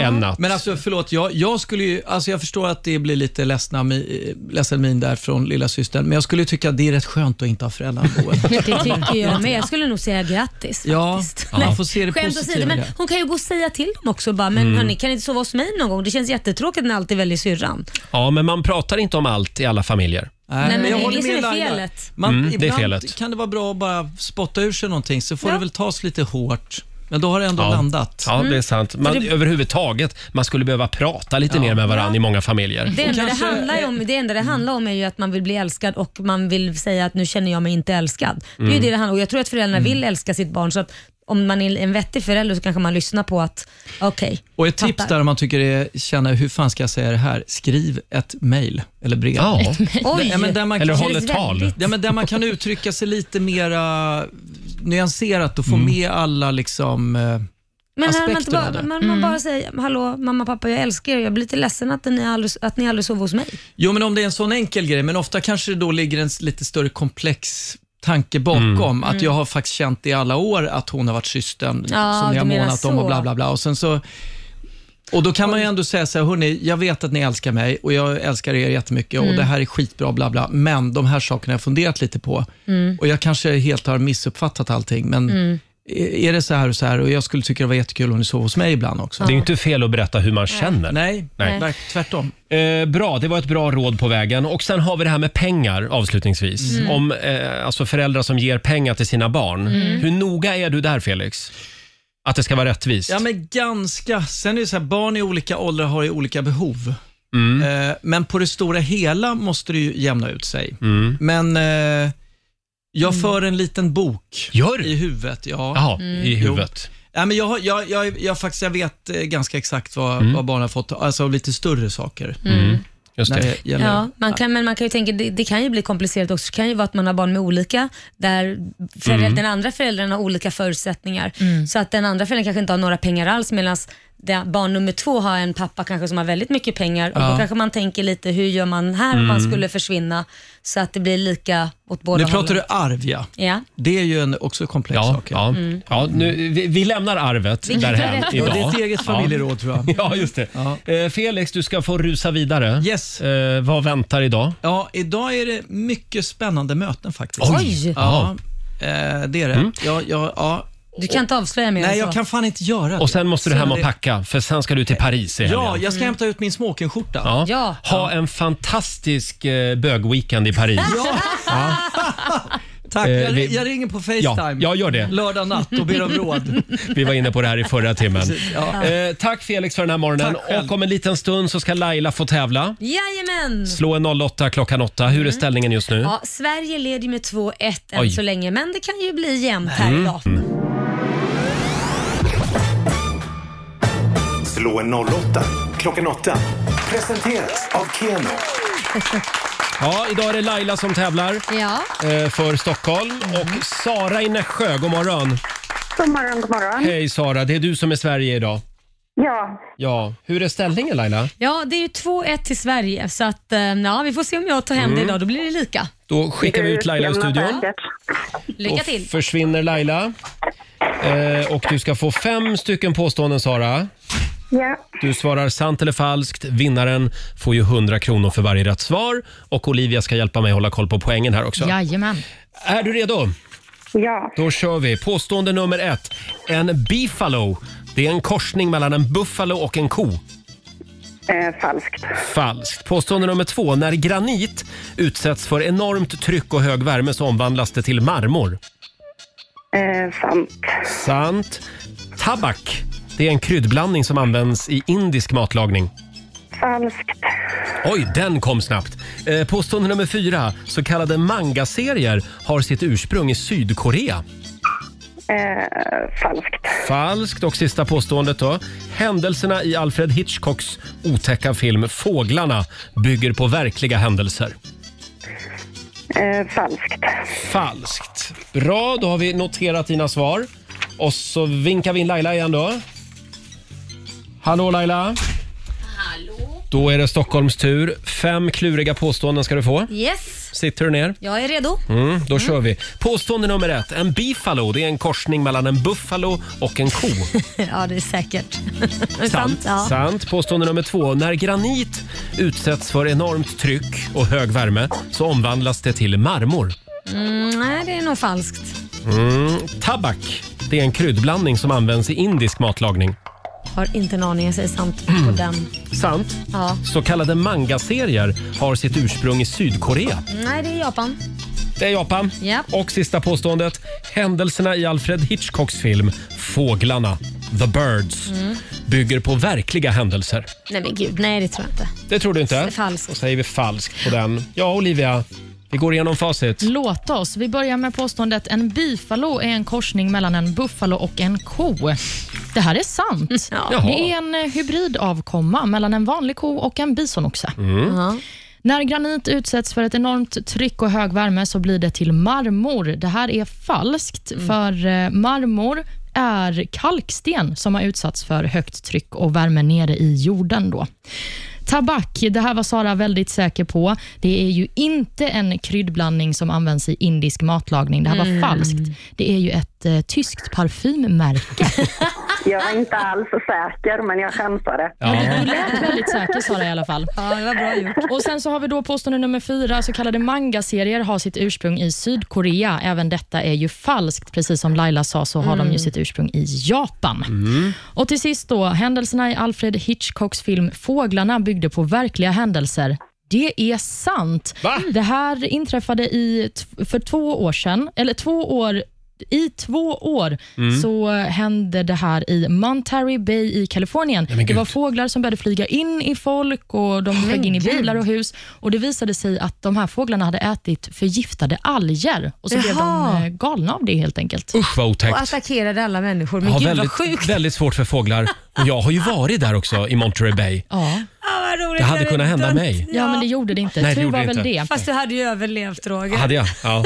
En natt. Men alltså förlåt, jag, jag skulle ju, alltså jag förstår att det blir lite ledsna, mi- ledsen min där från lilla systern, men jag skulle ju tycka att det är rätt skönt att inte ha föräldrarna på en. Det tycker jag med. Jag skulle nog säga grattis Ja, faktiskt. ja, Nej, får se det Skämt åsido, positiva i men det. hon kan ju gå och säga till dem också bara, men hörni, kan ni inte sova hos mig någon gång? Det känns jättetråkigt när alltid väljer syrran. Ja, men man pratar inte om allt i alla familjer. Nej, men jag det är håller det som med är Laila. felet. Man, Mm, det är ibland felet. kan det vara bra att bara spotta ur sig någonting, så får Ja. det väl tas lite hårt. Men då har det ändå Ja. landat. Ja, Mm. det är sant. Man, Överhuvudtaget, man skulle behöva prata lite mer med varandra i många familjer. Det enda, kanske- Mm. det, handlar ju om, det enda det handlar om är ju att man vill bli älskad och man vill säga att nu känner jag mig inte älskad. Det är Mm. ju det det handlar om. Och Jag tror att föräldrarna vill älska sitt barn så att om man är en vettig förälder så kanske man lyssnar på att okej. Och ett tips Fattar. där om man tycker det är, känner, hur fan ska jag säga det här? Skriv ett mejl eller brev. Ja. Oj! Ja, *laughs* men där man Eller kanske- håll ett tal. Ja, men där man kan uttrycka sig lite mera nyanserat och Mm. få med alla liksom... eh, Men när man, inte aspekter bara, av det. man, man Mm. bara säger hallå mamma pappa jag älskar er jag blir lite ledsen att ni aldrig, att ni aldrig sover hos mig. Jo, men om det är en sån enkel grej, men ofta kanske det då ligger en s- lite större komplex tanke bakom. Mm. Att jag har faktiskt känt i alla år att hon har varit systern Ja, som ni har du menar månat om och så. bla bla bla. Och, sen så, och då kan man ju ändå säga så här, hörni, jag vet att ni älskar mig och jag älskar er jättemycket Mm. och det här är skitbra bla bla, men de här sakerna har jag funderat lite på Mm. och jag kanske helt har missuppfattat allting, men är är det så här och så här och jag skulle tycka det var jättekul om ni sov hos mig ibland också. Det är ju inte fel att berätta hur man känner. Nej, Nej. verk- tvärtom. Eh, bra, det var ett bra råd på vägen. Och sen har vi det här med pengar avslutningsvis. Mm. Om eh, alltså föräldrar som ger pengar till sina barn. Mm. Hur noga är du där Felix? Att det ska vara rättvist? Ja, men ganska. Sen är det så här, barn i olika åldrar har ju olika behov. Mm. Eh, men på det stora hela måste det ju jämna ut sig. Mm. Men eh, jag Mm. för en liten bok Gör du? i huvudet. Ja. Jaha, Mm. i huvudet. Ja, men jag, har- jag, jag, jag, faktiskt, jag vet eh, ganska exakt vad, vad barn har fått, alltså av lite större saker. Mm. Mm. Just När det. det gäller. Ja, man kan, men man kan ju tänka, det, det kan ju bli komplicerat också. Det kan ju vara att man har barn med olika, där Mm. föräldrar, den andra föräldern har olika förutsättningar. Så att den andra föräldern kanske inte har några pengar alls medan det, barn nummer två har en pappa kanske som har väldigt mycket pengar och då kanske man tänker lite hur gör man här om man skulle försvinna så att det blir lika åt båda Mm. Nu pratar hållen. du arv, ja. Ja. Det är ju en också komplex Ja, sak. ja. ja nu, vi, vi lämnar arvet därhän Mm. rätt. idag. Det är ett eget familjeråd tror jag. Ja. *laughs* Ja, just det. Eh, Felix, du ska få rusa vidare. Yes. Eh, vad väntar idag? Ja, idag är det mycket spännande möten faktiskt. Oj. Ja, eh, det är det. Mm. Ja, ja, ja. Du kan inte avslöja mer än Nej, så. jag kan fan inte göra det. Och sen måste du hem och det- packa, för sen ska du till Paris i helgen. Ja, jag ska hämta ut min smokingskjorta. Ja. Ja. Ha en fantastisk eh, bögweekend i Paris. *laughs* Tack, Eh, jag, vi- jag ringer på Ja, Facetime. jag gör det. Lördag natt och ber om råd. Vi var inne på det här i förra timmen. Ja. Eh, tack Felix för den här morgonen. Tack själv. Och om en liten stund så ska Laila få tävla. Jajamän! Slå en 08 klockan 8. Hur Mm. är ställningen just nu? Ja, Sverige leder ju med 2-1 än Oj. så länge, men det kan ju bli jämnt här Mm. idag. Slå en 08 klockan 8. Presenteras av Keno. Ja, idag är det Laila som tävlar Ja. eh, för Stockholm. Mm. Och Sara i Nässjö, god morgon. God morgon, god morgon. Hej Sara, det är du som är Sverige idag. Ja, Ja, hur är ställningen Laila? ja, det är ju 2-1 till Sverige, så att, eh, ja, vi får se om jag tar hem Mm. det idag. Då blir det lika. Då skickar vi ut Laila ur Jämna studion. säkert. Lycka till! Och försvinner Laila. Eh, och du ska få fem stycken påståenden Sara. Ja, Du svarar sant eller falskt. Vinnaren får ju 100 kronor för varje rätt svar. Och Olivia ska hjälpa mig hålla koll på poängen här också. Jajamän. Är du redo? ja, Då kör vi. Påstående nummer ett. En beefalo, det är en korsning mellan en buffalo och en ko. eh, falskt. Falskt. Påstående nummer två. När granit utsätts för enormt tryck och hög värme så omvandlas det till marmor. Eh, sant. Sant. Tabak, det är en kryddblandning som används i indisk matlagning. Falskt. Oj, den kom snabbt. Eh, Påstående nummer fyra. Så kallade mangaserier har sitt ursprung i Sydkorea. Eh, falskt. Falskt. Och sista påståendet då. Händelserna i Alfred Hitchcocks otäcka film Fåglarna bygger på verkliga händelser. Eh, falskt. Falskt. Bra, då har vi noterat dina svar. Och så vinkar vi in Laila igen då. Hallå Laila. Hallå. Då är det Stockholms tur. Fem kluriga påståenden ska du få. Yes, Sitter du ner? jag är redo. Mm, då kör vi. Påstående nummer ett. En bifalo, det är en korsning mellan en buffalo och en ko. Ja, det är säkert. *laughs* Ja. Sant. Påstående nummer två. När granit utsätts för enormt tryck och hög värme så omvandlas det till marmor. Nej, det är nog falskt. Tabak, det är en kryddblandning som används i indisk matlagning. Har inte en aning, jag säger sant på Mm. den. Sant. Ja. Så kallade mangaserier har sitt ursprung i Sydkorea. Nej, det är Japan. Det är Japan. Ja. Och sista påståendet. Händelserna i Alfred Hitchcocks film Fåglarna, The Birds, Mm. bygger på verkliga händelser. Nej men gud, nej det tror jag inte. Det tror du inte? S- falskt. Då säger vi falskt på den. Ja, Olivia. Vi går igenom facit. Låt oss. Vi börjar med påståendet en bifalo är en korsning mellan en buffalo och en ko. Det här är sant. Jaha. Det är en eh, hybridavkomma mellan en vanlig ko och en bisonoxe. Mm. Ja. När granit utsätts för ett enormt tryck och hög värme så blir det till marmor. Det här är falskt, för eh, marmor är kalksten som har utsatts för högt tryck och värme nere i jorden. Då. Tabak, det här var Sara väldigt säker på. Det är ju inte en kryddblandning som används i indisk matlagning. Det här var falskt. Det är ju ett eh, tyskt parfymmärke. Jag var inte alls så säker, men jag chansade. Du lät väldigt säker Sara i alla fall. ja, det var bra gjort. Och Sen så har vi då påstående nummer fyra. Så kallade mangaserier har sitt ursprung i Sydkorea. Även detta är ju falskt. Precis som Laila sa så har Mm. de ju sitt ursprung i Japan. Och Till sist då, händelserna i Alfred Hitchcocks film Fåglarna byggde på verkliga händelser. Det är sant. Va? Det här inträffade i, t- för två år sedan, eller två år i två år Mm. så hände det här i Monterey Bay i Kalifornien. men det var gud. fåglar som började flyga in i folk och de flög in i bilar och hus. Och Det visade sig att de här fåglarna hade ätit förgiftade alger och så blev de Jaha. eh, galna av det helt enkelt. Usch vad otäckt. Och attackerade alla människor. Men Jag har gud vad väldigt, sjukt. väldigt svårt för fåglar. Och jag har ju varit där också i Monterey Bay. Ja. Ja, vad roligt Det hade när kunnat hända dött. mig. Ja, men det gjorde det inte. Nej, det Tur gjorde var det väl inte. det. Fast du hade ju överlevt Roger. Hade jag? Ja.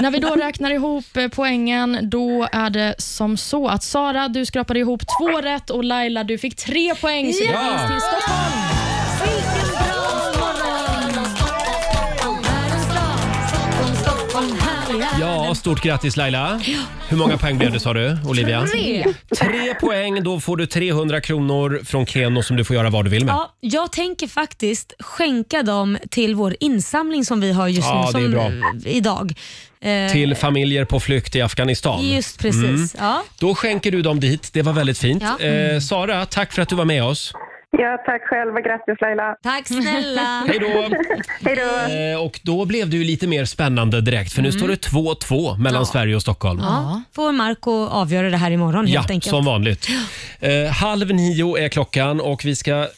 När vi då räknar ihop eh, poängen, då är det som så att Sara, du skrapade ihop två rätt och Laila, du fick tre poäng. Så Ja! du finns till Stockholm. ja, stort grattis Laila. Hur många poäng blev det sa du, Olivia? Tre. Tre poäng, då får du 300 kronor från Keno som du får göra vad du vill med. Ja, jag tänker faktiskt skänka dem till vår insamling som vi har just Ja, nu, det är som bra. idag. Eh, Till familjer på flykt i Afghanistan. Just precis. Mm. Ja. Då skänker du dem dit. Det var väldigt fint. Ja. Eh, Sara, tack för att du var med oss. Ja, tack själv och grattis Laila. Tack snälla. *laughs* Hej då! Hej då! Eh, och då blev det ju lite mer spännande direkt för nu står det 2-2 mellan Sverige och Stockholm. Mm. Ja, får Marco avgöra det här imorgon helt Ja, enkelt. som vanligt. Eh, halv nio är klockan och vi ska...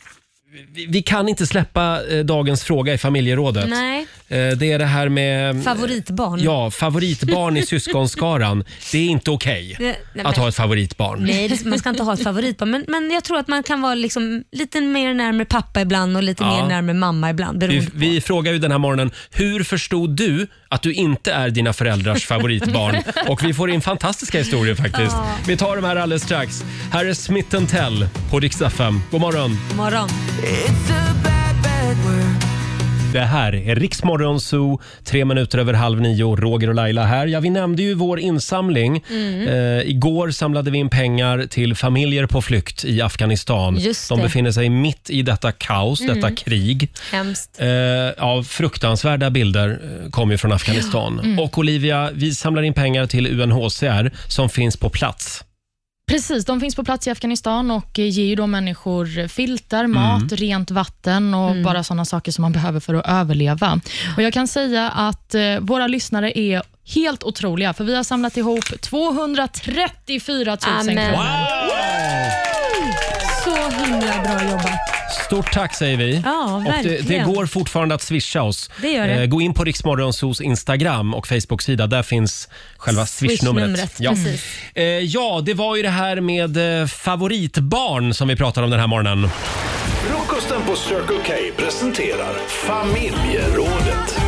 Vi, vi kan inte släppa eh, dagens fråga i familjerådet. Nej, Eh, det är det här med... favoritbarn. Ja, favoritbarn i syskonskaran. Det är inte okej Det- nej, men- att ha ett favoritbarn. Nej, det- man ska inte ha ett favoritbarn, men, men jag tror att man kan vara liksom lite mer närmare pappa ibland och lite Ja. mer närmare mamma ibland. Vi, beroende på. vi frågar ju den här morgonen, hur förstod du att du inte är dina föräldrars *laughs* favoritbarn? Och vi får in fantastiska historier faktiskt. Vi tar de här alldeles strax. Här är Smith Tell på riksdag 5. God morgon! Morgon. Det här är Riksmorgon Zoo, tre minuter över halv nio. Roger och Laila här. Ja, vi nämnde ju vår insamling. Mm. Eh, igår samlade vi in pengar till familjer på flykt i Afghanistan. Just De det. Mm. befinner sig mitt i detta kaos, detta krig. Hemskt. Eh, ja, fruktansvärda bilder eh, kom ju från Afghanistan. Mm. Och Olivia, vi samlar in pengar till UNHCR som finns på plats. Precis, de finns på plats i Afghanistan och eh, ger ju då människor filtar, mat, rent vatten och bara sådana saker som man behöver för att överleva. Och Jag kan säga att eh, våra lyssnare är helt otroliga, för vi har samlat ihop 234 000 Amen. kronor. Så himla bra jobbat. Stort tack säger vi. Ja, och det, det verkligen. går fortfarande att swisha oss. Eh, Det gör det. gå in på Riksmorgonsos Instagram och Facebook-sida. Där finns själva swishnumret. Swishnumret, Mm. precis. Eh, ja, det var ju det här med eh, favoritbarn som vi pratade om den här morgonen. Frukosten på Circle K presenterar familjerådet.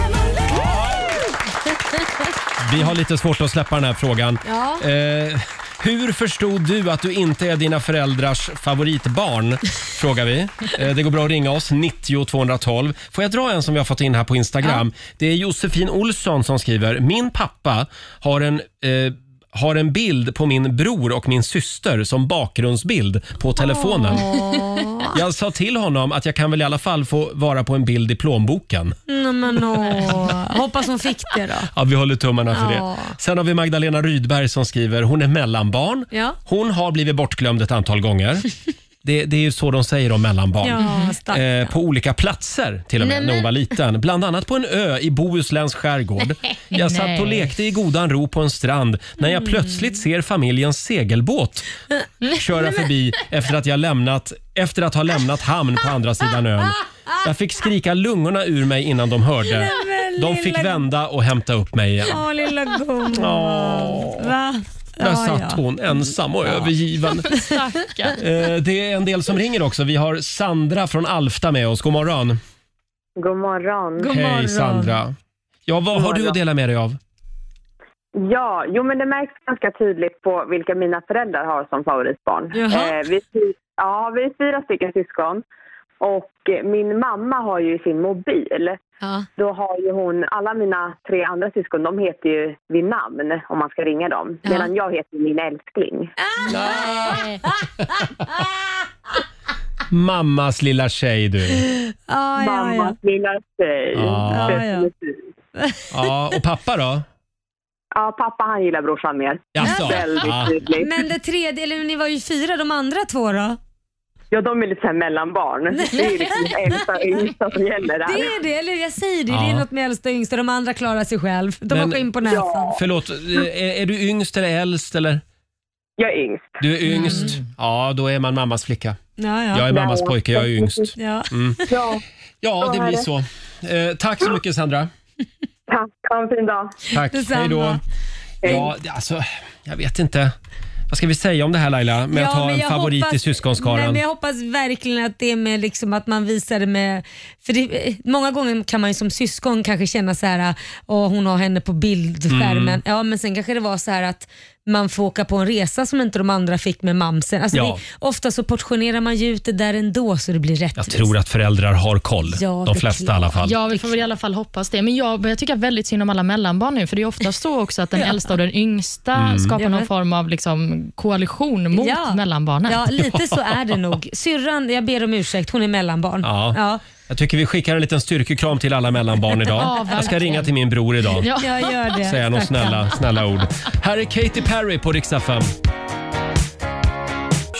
Vi har lite svårt att släppa den här frågan. Ja. Eh, hur förstod du att du inte är dina föräldrars favoritbarn? Frågar vi. Eh, det går bra att ringa oss, 90 212. Får jag dra en som vi har fått in här på Instagram? Det är Josefin Olsson som skriver. Min pappa har en eh, har en bild på min bror och min syster som bakgrundsbild på telefonen. Jag sa till honom att jag kan väl i alla fall få vara på en bild i plånboken. Nej, *laughs* men, åh. Hoppas hon fick det då. Ja, vi håller tummarna för Ja. det. Sen har vi Magdalena Rydberg som skriver, hon är mellanbarn. Ja. Hon har blivit bortglömd ett antal *laughs* gånger. Det, det är ju så de säger om mellanbarn. Ja, starkt. Eh, på olika platser till och med Nej, när hon men- var liten. Bland annat på en ö i Bohusläns skärgård. Jag satt och Nej. lekte i godan ro på en strand när Mm. jag plötsligt ser familjens segelbåt köra förbi efter att, jag lämnat, efter att ha lämnat hamn på andra sidan ön. Jag fick skrika lungorna ur mig innan de hörde. men De fick lilla- vända och hämta upp mig igen. Åh, lilla gumman. Va? Där Ja, satt ja. hon ensam och *laughs* övergiven. Stackarn. Eh, Det är en del som ringer också. Vi har Sandra från Alfta med oss. God morgon. God morgon. God Hej morgon. Sandra. Ja, vad har du att dela med dig *laughs* av? Ja, jo men det märks ganska tydligt på vilka mina föräldrar har som favoritbarn. Jaha. Eh, vi, fy- ja, vi är fyra stycken syskon. Och eh, min mamma har ju sin mobil. Ja. Då har ju hon, alla mina tre andra syskon, de heter ju vid namn om man ska ringa dem. Ja. Medan jag heter min älskling. Mammas lilla tjej du. Ja, ja, ja. Mammas lilla tjej. Ah. Ja. Ja, ja. Ja, och pappa då? Ja, pappa han gillar brorsan mer. Jaså? Väldigt Ja. tydligt. Men det tredje, eller ni var ju fyra de andra två då? Ja, de är lite såhär mellanbarn. Det är ju liksom äldsta och yngsta som gäller Det där. är det, eller jag säger det. Det Ja. är något med äldsta och yngsta. De andra klarar sig själv. De Men- har skinn på näsan. Förlåt, eh, är, är du yngst eller äldst? Eller? Jag är yngst. Du är yngst. Ja, då är man mammas flicka. Ja, Mm. ja. Jag är mammas pojke, jag är yngst. ja. Ja, Ja, det blir så. Eh, tack så mycket Sandra. tack. Ha en fin dag. Tack, Detsamma. hej då. Ja, det- alltså, jag vet inte. Vad ska vi säga om det här Laila, med att ha men en jag favorit i hoppas- Nej, syskonskaran? men jag hoppas verkligen att det är med liksom att man visar det med... För det, eh, många gånger kan man ju som syskon kanske känna så här, åh hon har henne på bildskärmen. Mm. Ja, men sen kanske det var så här att man får åka på en resa som inte de andra fick med mamsen. Alltså Ja. det, ofta så portionerar man ju ut det där ändå så det blir rättvist. Jag tror att föräldrar har koll. Ja, De det är flesta i klart. alla fall. Ja, vi får väl i alla fall hoppas det. Men jag börjar tycka väldigt synd om alla mellanbarn nu, för det är ofta så *laughs* också att den äldsta och den yngsta Mm. skapar Ja, någon men- form av liksom koalition mot mellanbarnen. Ja, lite *laughs* så är det nog. Syrran, jag ber om ursäkt, hon är mellanbarn. Ja. Jag tycker vi skickar en liten styrkekram till alla mellanbarn *laughs* idag. Ja, Jag ska verkligen. ringa till min bror idag. Ja. Jag gör det. Säga några stackarn. snälla, snälla ord. Här är Katy Perry på riksdag 5.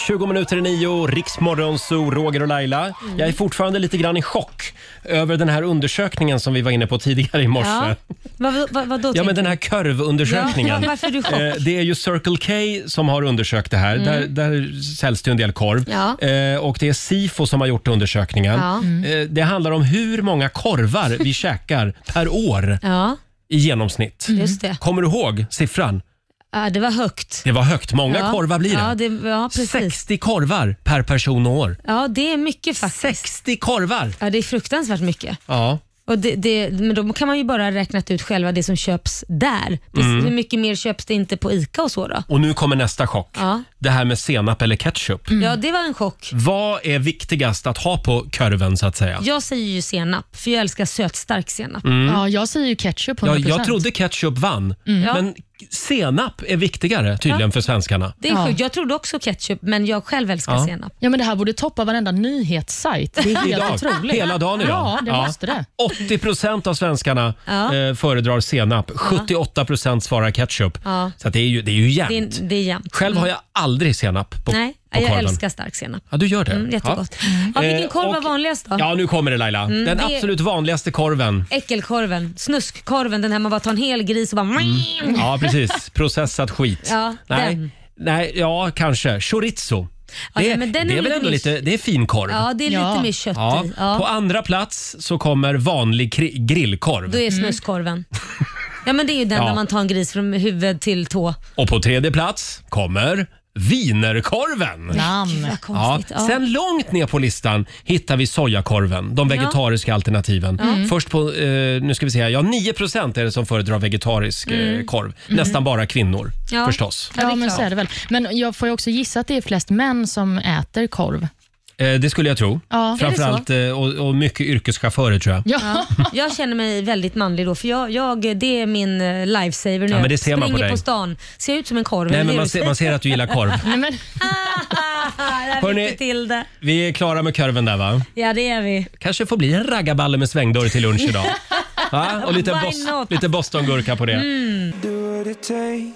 20 minuter i nio, Riksmorgon, Zoo, Roger och Laila. Jag är fortfarande lite grann i chock över den här undersökningen som vi var inne på tidigare i morse. Ja. Ja, Vad, vad, vad då men den här Ja, kurvundersökningen. *laughs* varför är du *laughs* chockad? Eh, Det är ju Circle K som har undersökt det här. Där, där säljs det ju en del korv. Mm. Ja. Eh, och det är Sifo som har gjort undersökningen. Ja. Mm. Eh, det handlar om hur många korvar *laughs* vi käkar per år Ja, i genomsnitt. Mm. just det. Kommer du ihåg siffran? Ja, det var högt. Det var högt. Många ja. korvar blir det. Ja, det ja, precis. 60 korvar per person och år. Ja, det är mycket faktiskt. 60 korvar! Ja, det är fruktansvärt mycket. Ja. Och det, det, men då kan man ju bara räkna ut själva det som köps där. Det, Mm. Hur mycket mer köps det inte på ICA och så då? Och nu kommer nästa chock. Ja. Mm. Det här med senap eller ketchup. Ja, det var en chock. Vad är viktigast att ha på korven så att säga? Jag säger ju senap, för jag älskar sötstark senap. Mm. Ja, jag säger ju ketchup 100%. Ja, jag trodde ketchup vann, Mm. men senap är viktigare tydligen för svenskarna. Det är Ja. sjukt. Jag trodde också ketchup, men jag själv älskar Ja. senap. Ja, men det här borde toppa varenda nyhetssajt. *laughs* Det är helt otroligt. hela dagen idag. Ja, det måste det. 80 procent av svenskarna Ja. eh, föredrar senap. 78 procent svarar ketchup. Ja. Så att det är ju, det är ju jämnt. Det är, det är jämnt. Själv har jag aldrig senap på, Nej, på korven. jag älskar stark senap. Ja, du gör det? Mm, jättegott. Ja. Ja, vilken Eh, korv var och- vanligast då? Mm, Ja, nu kommer det Laila. Den det- absolut vanligaste korven. Äckelkorven, snuskkorven, den här man bara tar en hel gris och bara... Mm. Ja, precis. Processat skit. Ja, Nej. den. Nej, ja kanske. Chorizo. Ja, Det, ja, men den det är är väl lite ändå mer- lite, det är finkorv. Ja, det är lite Ja. mer kött Ja. i. Ja. På andra plats så kommer vanlig kri- grillkorv. Då är snuskorven. Ja men det är ju den Mm. Ja. där man tar en gris från huvud till tå. Och på tredje plats kommer wienerkorven. Namn. Vad Ja. konstigt. Ja. Sen långt ner på listan hittar vi sojakorven, de vegetariska alternativen. Mm. Först på, eh, nu ska vi se här, ja 9 är det som föredrar vegetarisk eh, korv. Nästan bara kvinnor Mm. Ja. förstås. Ja, det är Ja, men klart. så är det väl. Men jag får ju också gissa att det är flest män som äter korv. Eh, det skulle jag tro. Ja. Framförallt eh, och, och mycket yrkeschaufförer tror jag. Ja. Jag känner mig väldigt manlig då, för jag, jag, det är min eh, lifesaver nu. Ja, men det Jag ser man på Springer dig. på stan, ser jag ut som en korv. Nej, eller men hur? man, ser, man ser att du gillar korv. *laughs* *laughs* Nej, men, jag fick Hörrni- det till det. Vi är klara med korven där va? Ja, det är vi. Kanske får bli en raggarballe med svängdörr till lunch *laughs* idag. Va? Och lite, Why bos- not? Mm. lite bostongurka på det.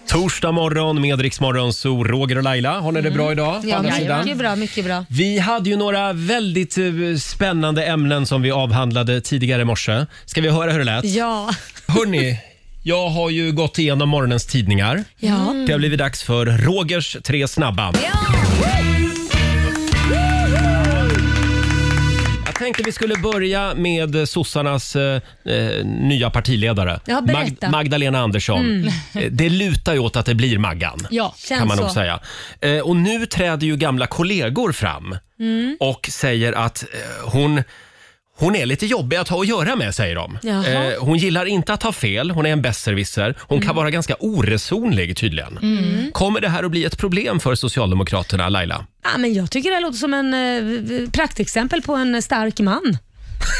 Torsdag morgon med Rix Morgon, så Roger och Laila. Har ni det bra idag? på Mm. Ja, andra sidan? mycket bra, mycket bra. Vi hade ju några väldigt eh, spännande ämnen som vi avhandlade tidigare i morse. Ska vi höra hur det lät? Ja. Hörni, jag har ju gått igenom morgonens tidningar. Ja. Det har blivit dags för Rogers tre snabba. Jag tänkte vi skulle börja med sossarnas eh, eh, nya partiledare. Ja, berätta. Mm. Magdalena Andersson. Eh, Det lutar ju åt att det blir Maggan. ja. Känns kan man så. nog säga. Eh, och nu träder ju gamla kollegor fram Mm. och säger att eh, hon hon är lite jobbig att ha att göra med, säger de. Jaha. Mm. Eh, hon gillar inte att ha fel, hon är en besserwisser. Hon kan vara ganska oresonlig tydligen. Kommer det här att bli ett problem för Socialdemokraterna, Laila? Ja, men jag tycker det här låter som en eh, praktexempel på en stark man.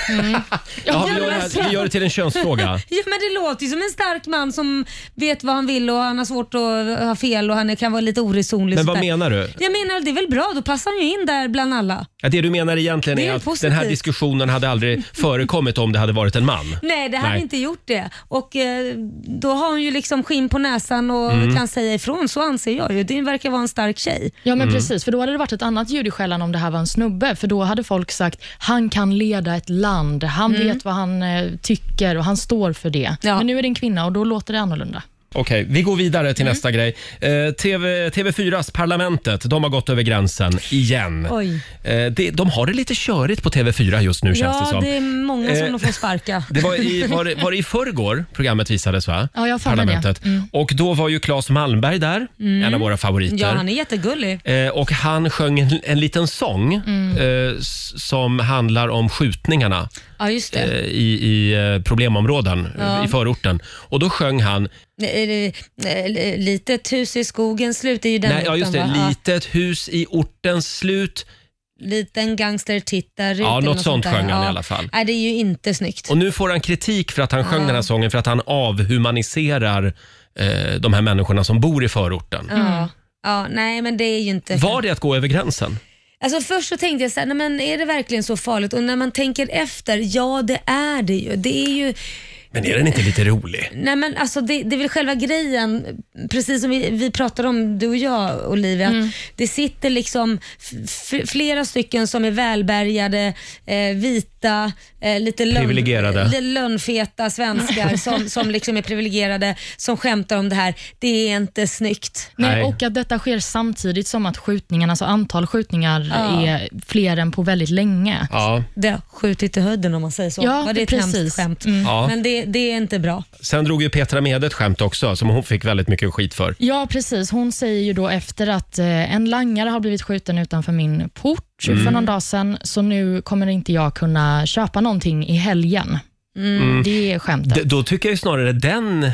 Ja, vi, men gör det här, vi gör det till en *laughs* könsfråga. Ja, men det låter ju som en stark man som vet vad han vill och han har svårt att ha fel och han kan vara lite oresonlig. Men vad sådär. menar du? Jag menar det är väl bra, då passar han ju in där bland alla. Ja, det du menar egentligen Det är är ju att positivt. den här diskussionen hade *laughs* aldrig förekommit om det hade varit en man. Nej, det hade Nej. inte gjort det. Och eh, Då har hon ju liksom skinn på näsan och Mm. kan säga ifrån, så anser jag ju. Det verkar vara en stark tjej. Ja, men precis. För då hade det varit ett annat ljud i skällan om det här var en snubbe. För då hade folk sagt, han kan leda ett land, han vet vad han eh, tycker och han står för det. Mm. Ja. Men nu är det en kvinna och då låter det annorlunda. Okej, vi går vidare Mm. till nästa grej. Eh, TV, TV4s Parlamentet, de har gått över gränsen igen. Oj. Eh, det, de har det lite körigt på TV4 just nu känns det Ja, som. det är många som Eh, de *laughs* får sparka. Det var i, var, det, var det i förrgår programmet visades va? Ja, jag har för mig det. Och då var ju Claes Malmberg där, en av våra favoriter. Ja, han är jättegullig. Eh, och han sjöng en, en liten sång eh, s- som handlar om skjutningarna Ja, just det. eh, i, i eh, problemområden eh, i förorten. Och då sjöng han, Eh, eh, Litet hus i skogen slut, det är ju den nej, ja, just det, låten, va? litet hus i ortens slut. Ja, Liten gangster tittar ut. Ja, eller något sånt där. sjöng han Ja. i alla fall. Nej, det är ju inte snyggt. Och nu får han kritik för att han sjöng den här sången för att han avhumaniserar eh, de här människorna som bor i förorten. Ja. ja, nej men det är ju inte... Var det att gå över gränsen? Alltså först så tänkte jag så här, nej men är det verkligen så farligt? Och när man tänker efter, ja det är det ju. Det är ju, Men är den inte lite rolig? nej men alltså det, det är väl själva grejen, precis som vi, vi pratade om, du och jag Olivia, Mm. att det sitter liksom f- f- flera stycken som är välbärgade, eh, vita, eh, lite lön- Privilegierade. lite *laughs* lönnfeta svenskar som, som liksom är privilegierade, som skämtar om det här. Det är inte snyggt. Nej. Nej, och att detta sker samtidigt som att skjutningarna, alltså antal skjutningar Ja. är fler än på väldigt länge. Ja. Det har skjutit i höjden om man säger så. Ja, Var det ett precis. Mm. hemskt skämt? Ja. Men det, det är inte bra. Sen drog ju Petra Mede ett skämt också som hon fick väldigt mycket skit för. Ja, precis. Hon säger ju då efter att eh, en langare har blivit skjuten utanför min port för någon dag sedan, så nu kommer inte jag kunna köpa någonting i helgen. Mm. Mm. Det är skämtet. D- då tycker jag ju snarare den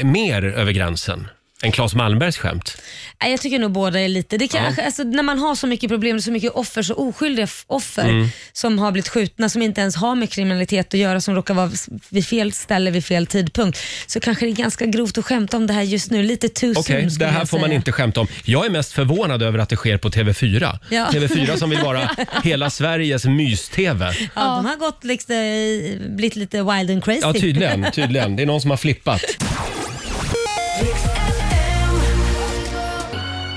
är mer över gränsen än Claes Malmbergs skämt. Nej, Jag tycker nog båda är lite. Det kanske, alltså, när man har så mycket problem, så mycket offer, så oskyldiga f- offer Mm. som har blivit skjutna, som inte ens har med kriminalitet att göra, som råkar vara s- vid fel ställe vid fel tidpunkt, så kanske det är ganska grovt att skämta om det här just nu. Lite too soon Okej, det skulle här jag får man säga. inte skämta om. Jag är mest förvånad över att det sker på TV4. Ja. TV4 som vill *laughs* vara hela Sveriges mys-TV. Ja, De har gått liksom, i- blivit lite wild and crazy. Ja, tydligen, tydligen. Det är någon som har flippat.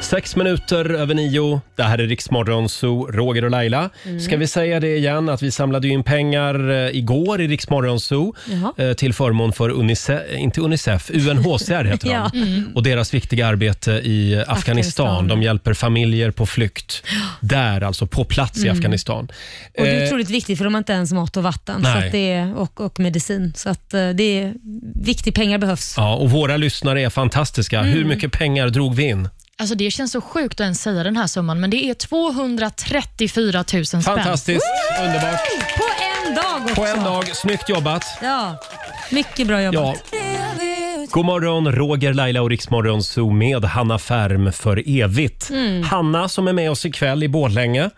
Sex minuter över nio. Det här är Riksmorgon Zoo, Roger och Laila. Mm. Ska vi säga det igen att vi samlade ju in pengar eh, igår i Riksmorgon Zoo Jaha. eh, till förmån för UNICEF, inte UNICEF, UNHCR heter de. *laughs* Ja. Mm. Och deras viktiga arbete i Afghanistan. Afghanistan. De hjälper familjer på *gasps* flykt. Där alltså, på plats i Afghanistan. Mm. Och det är Eh, otroligt viktigt för de har inte ens mat och vatten så Nej. att det är, och, och medicin. Så att eh, det är viktigt, pengar behövs. Ja, och våra lyssnare är fantastiska. Mm. Hur mycket pengar drog vi in? Alltså det känns så sjukt att ens säga den här summan, men det är 234 000 spänn. Fantastiskt, underbart. På en dag också. På en dag, snyggt jobbat. Ja, mycket bra jobbat. Ja. God morgon, Roger, Laila och Riksmorgon Zoo med Hanna Färm för evigt. Mm. Hanna som är med oss ikväll i Borlänge.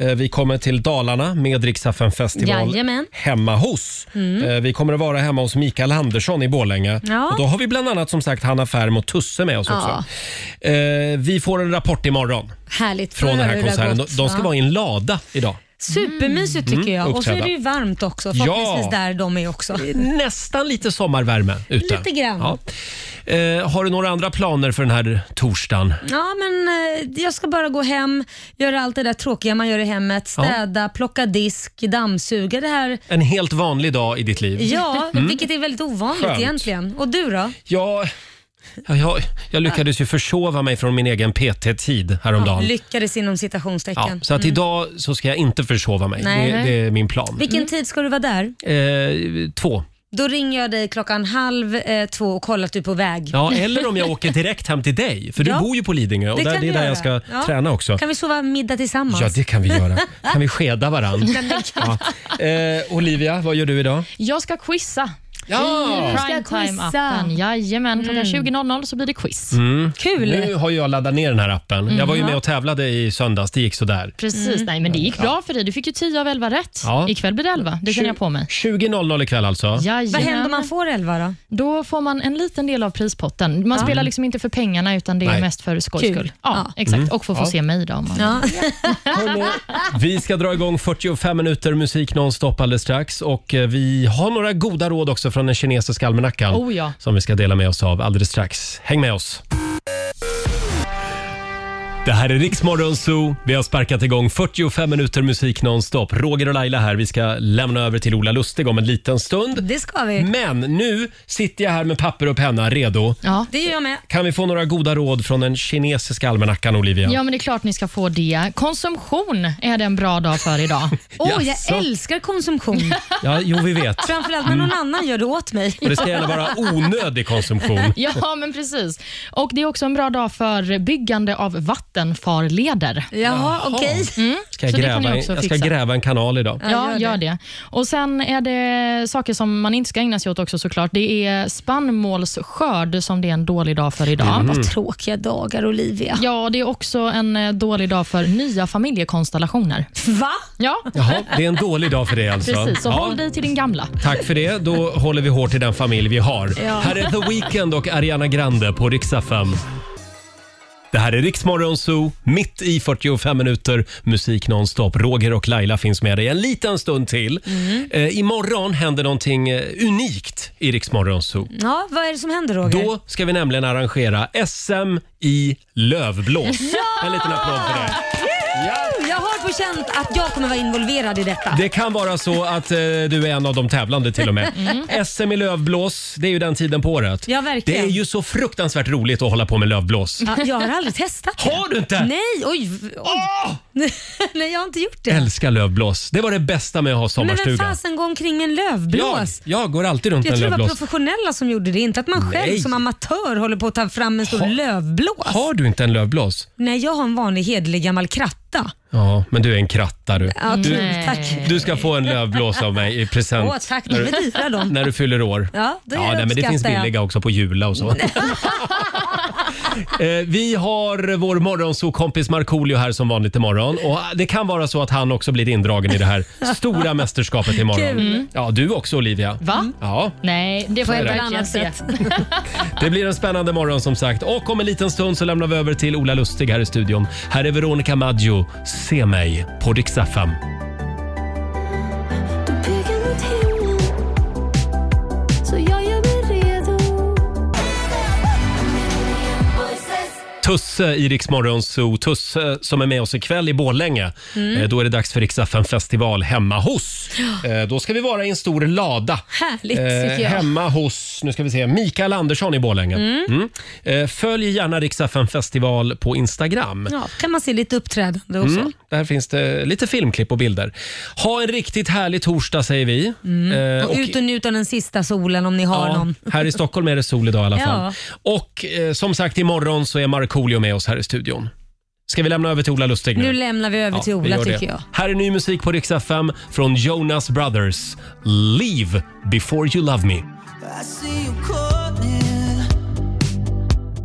Eh, Vi kommer till Dalarna med Riksaffen festival Jajamän. Mm. hemma hos. Eh, Vi kommer att vara hemma hos Mikael Andersson i Borlänge. Ja. Och då har vi bland annat som sagt Hanna Färm och Tusse med oss också. Eh, Vi får en rapport imorgon Härligt. från den Hur här har det konserten. De gått? de ska Ja. vara i en lada idag. Supermysigt tycker jag. Och så är uppträda. det ju varmt också. Förhoppningsvis Ja. där de är också. Nästan lite sommarvärme ute. Lite grann. Ja. Eh, har du några andra planer för den här torsdagen? Ja, men eh, jag ska bara gå hem, göra allt det där tråkiga man gör i hemmet. Städa, plocka disk, dammsuga. Det här, En helt vanlig dag i ditt liv? ja, *laughs* vilket är väldigt ovanligt Mm. Skönt. egentligen. Och du då? Ja, ja, jag, jag lyckades ju försova mig från min egen PT-tid häromdagen. Lyckades inom Ja, citationstecken. så att idag så ska jag inte försova mig. Mm. Nej. Det, det är min plan. Vilken tid ska du vara där? Eh, två. Då ringer jag dig klockan halv eh, två och kollar att du är på väg. Ja, eller om jag åker direkt hem till dig, för *laughs* Ja. du bor ju på Lidingö och Det det, där, kan det är vi där göra. jag ska Ja. träna också. Kan vi sova middag tillsammans? Ja, det kan vi *laughs* göra. Kan vi skeda varandra? men Ja. Eh, Olivia, vad gör du idag? Jag ska quizza. Ja! ska Primetime-appen. Jajamän, klockan Mm. 20.00 så blir det quiz. *laughs* Kul! Nu har jag laddat ner den här appen. Jag var ju Mhm. med och tävlade i söndags, det gick sådär. Precis, nej men det gick bra för dig. Du fick ju 10 av 11 rätt. Ja. Ikväll blir det 11, det känner jag på mig. 20.00 ikväll alltså. Vad Jajamän. händer om man får elva då? Då får man en liten del av prispotten. Man spelar liksom inte för pengarna, utan det är Nej. mest för skojs Kul. skull. Ja, Exakt, och får få se mig då. Om man... Ja. Vi ska dra igång 45 minuter musik nonstop alldeles strax och eh, vi har några goda råd också från den kinesiska almanackan Oh ja. som vi ska dela med oss av alldeles strax. Häng med oss! Det här är Riksmorgon Zoo. Vi har sparkat igång 45 minuter musik nonstop. Roger och Laila här. Vi ska lämna över till Ola Lustig om en liten stund. *laughs* Det ska vi. Men nu sitter jag här med papper och penna redo. Ja. Det gör jag med. Kan vi få några goda råd från den kinesiska almanackan, Olivia? ja, men det är klart ni ska få det. Konsumtion är det en bra dag för idag. Åh, Jaså? jag älskar konsumtion. Ja, jo, vi vet. *laughs* Framförallt när någon annan gör det åt mig. Och det ska gärna vara onödig konsumtion. Ja, *laughs* men precis. Och Det är också en bra dag för byggande av vattenfarleder. Jaha, okej. Ska jag, Så det kan gräva, ni en- också jag ska fixa. gräva en kanal idag. Ja, gör, det. Och Sen är det saker som man inte ska ägna sig åt också såklart. Det är spannmålsskörd som det är en dålig dag för idag. Vad tråkiga dagar, Olivia. Ja, det är också en eh, dålig dag för nya familjekonstellationer. Va? Ja, Jaha, det är en dålig dag för det alltså. precis. Så Ja. håll dig till din gamla. Tack för det. Då håller vi hårt i den familj vi har. Här är The Weeknd och Ariana Grande på riksdag 5. Det här är Riksmorgon Zoo, mitt i 45 minuter musik nonstop. Roger och Laila finns med dig en liten stund till. Eh, imorgon händer någonting eh, unikt i Riksmorgon Zoo. Ja, vad är det som händer, Roger? Då ska vi nämligen arrangera SM i lövblås. En liten applåd för det. Ja. Jag har på känn att jag kommer vara involverad i detta. Det kan vara så att eh, du är en av de tävlande till och *laughs* med. SM i lövblås, det är ju den tiden på året. Mm. Ja, verkligen. Det är ju så fruktansvärt roligt att hålla på med *laughs* lövblås. Ja, jag har aldrig testat *laughs* det. Har du inte? Nej, oj. v- oj. *laughs* Nej, jag har inte gjort det. Älskar lövblås. Det var det bästa med att ha Men vem sommarstuga. fasen går omkring en jag, lövblås? jag går alltid runt med Jag en tror det var lövblås. professionella som gjorde det, inte att man själv Nej. som amatör håller på att ta fram en stor lövblås. Har du inte en lövblås? Nej, jag har en vanlig hederlig gammal kratta. Ja, men du är en kratta du. Ja, Du- du, tack. Du ska få en lövblås av mig i present Åh, tack. De är *laughs* dyra de. när du fyller år. Ja, det nej, men det uppskattar finns jag. billiga också på Jula och *laughs* så. Eh, Vi har vår morgonsokompis Markoolio här som vanligt imorgon. Och det kan vara så att han också blir indragen i det här stora mästerskapet imorgon. Mm. Ja, du också Olivia. Va? Ja, Nej, det får är jag det. verkligen se. det blir en spännande morgon som sagt. Och om en liten stund så lämnar vi över till Ola Lustig här i studion. Här är Veronica Maggio, Se mig på Rix FM. Du bygger mot himlen Så jag gör mig redo Tusse i Rix Morgon Zoo. Tusse som är med oss ikväll i Borlänge. Mm. Eh, Då är det dags för Rix FM festival hemma hos. Eh, Då ska vi vara i en stor lada. *laughs* Härligt tycker Eh, jag. hemma hos nu ska vi se, Mikael Andersson i Borlänge. Mm. Eh, Följ gärna Rix FM festival på Instagram. Ja, kan man se lite uppträdande och så. Där finns det lite filmklipp och bilder. Ha en riktigt härlig torsdag säger vi. Eh, Mm. Och ut och njut av den sista solen om ni har någon. här i Stockholm är det sol idag i alla Ja. fall. Och eh, som sagt, imorgon så är Markoolio med oss här i studion. Ska vi lämna över till Ola Lustig nu? Nu lämnar vi över Ja, till vi Ola gör det. tycker jag. Här är ny musik på Rix FM från Jonas Brothers. Leave before you love me. I see you call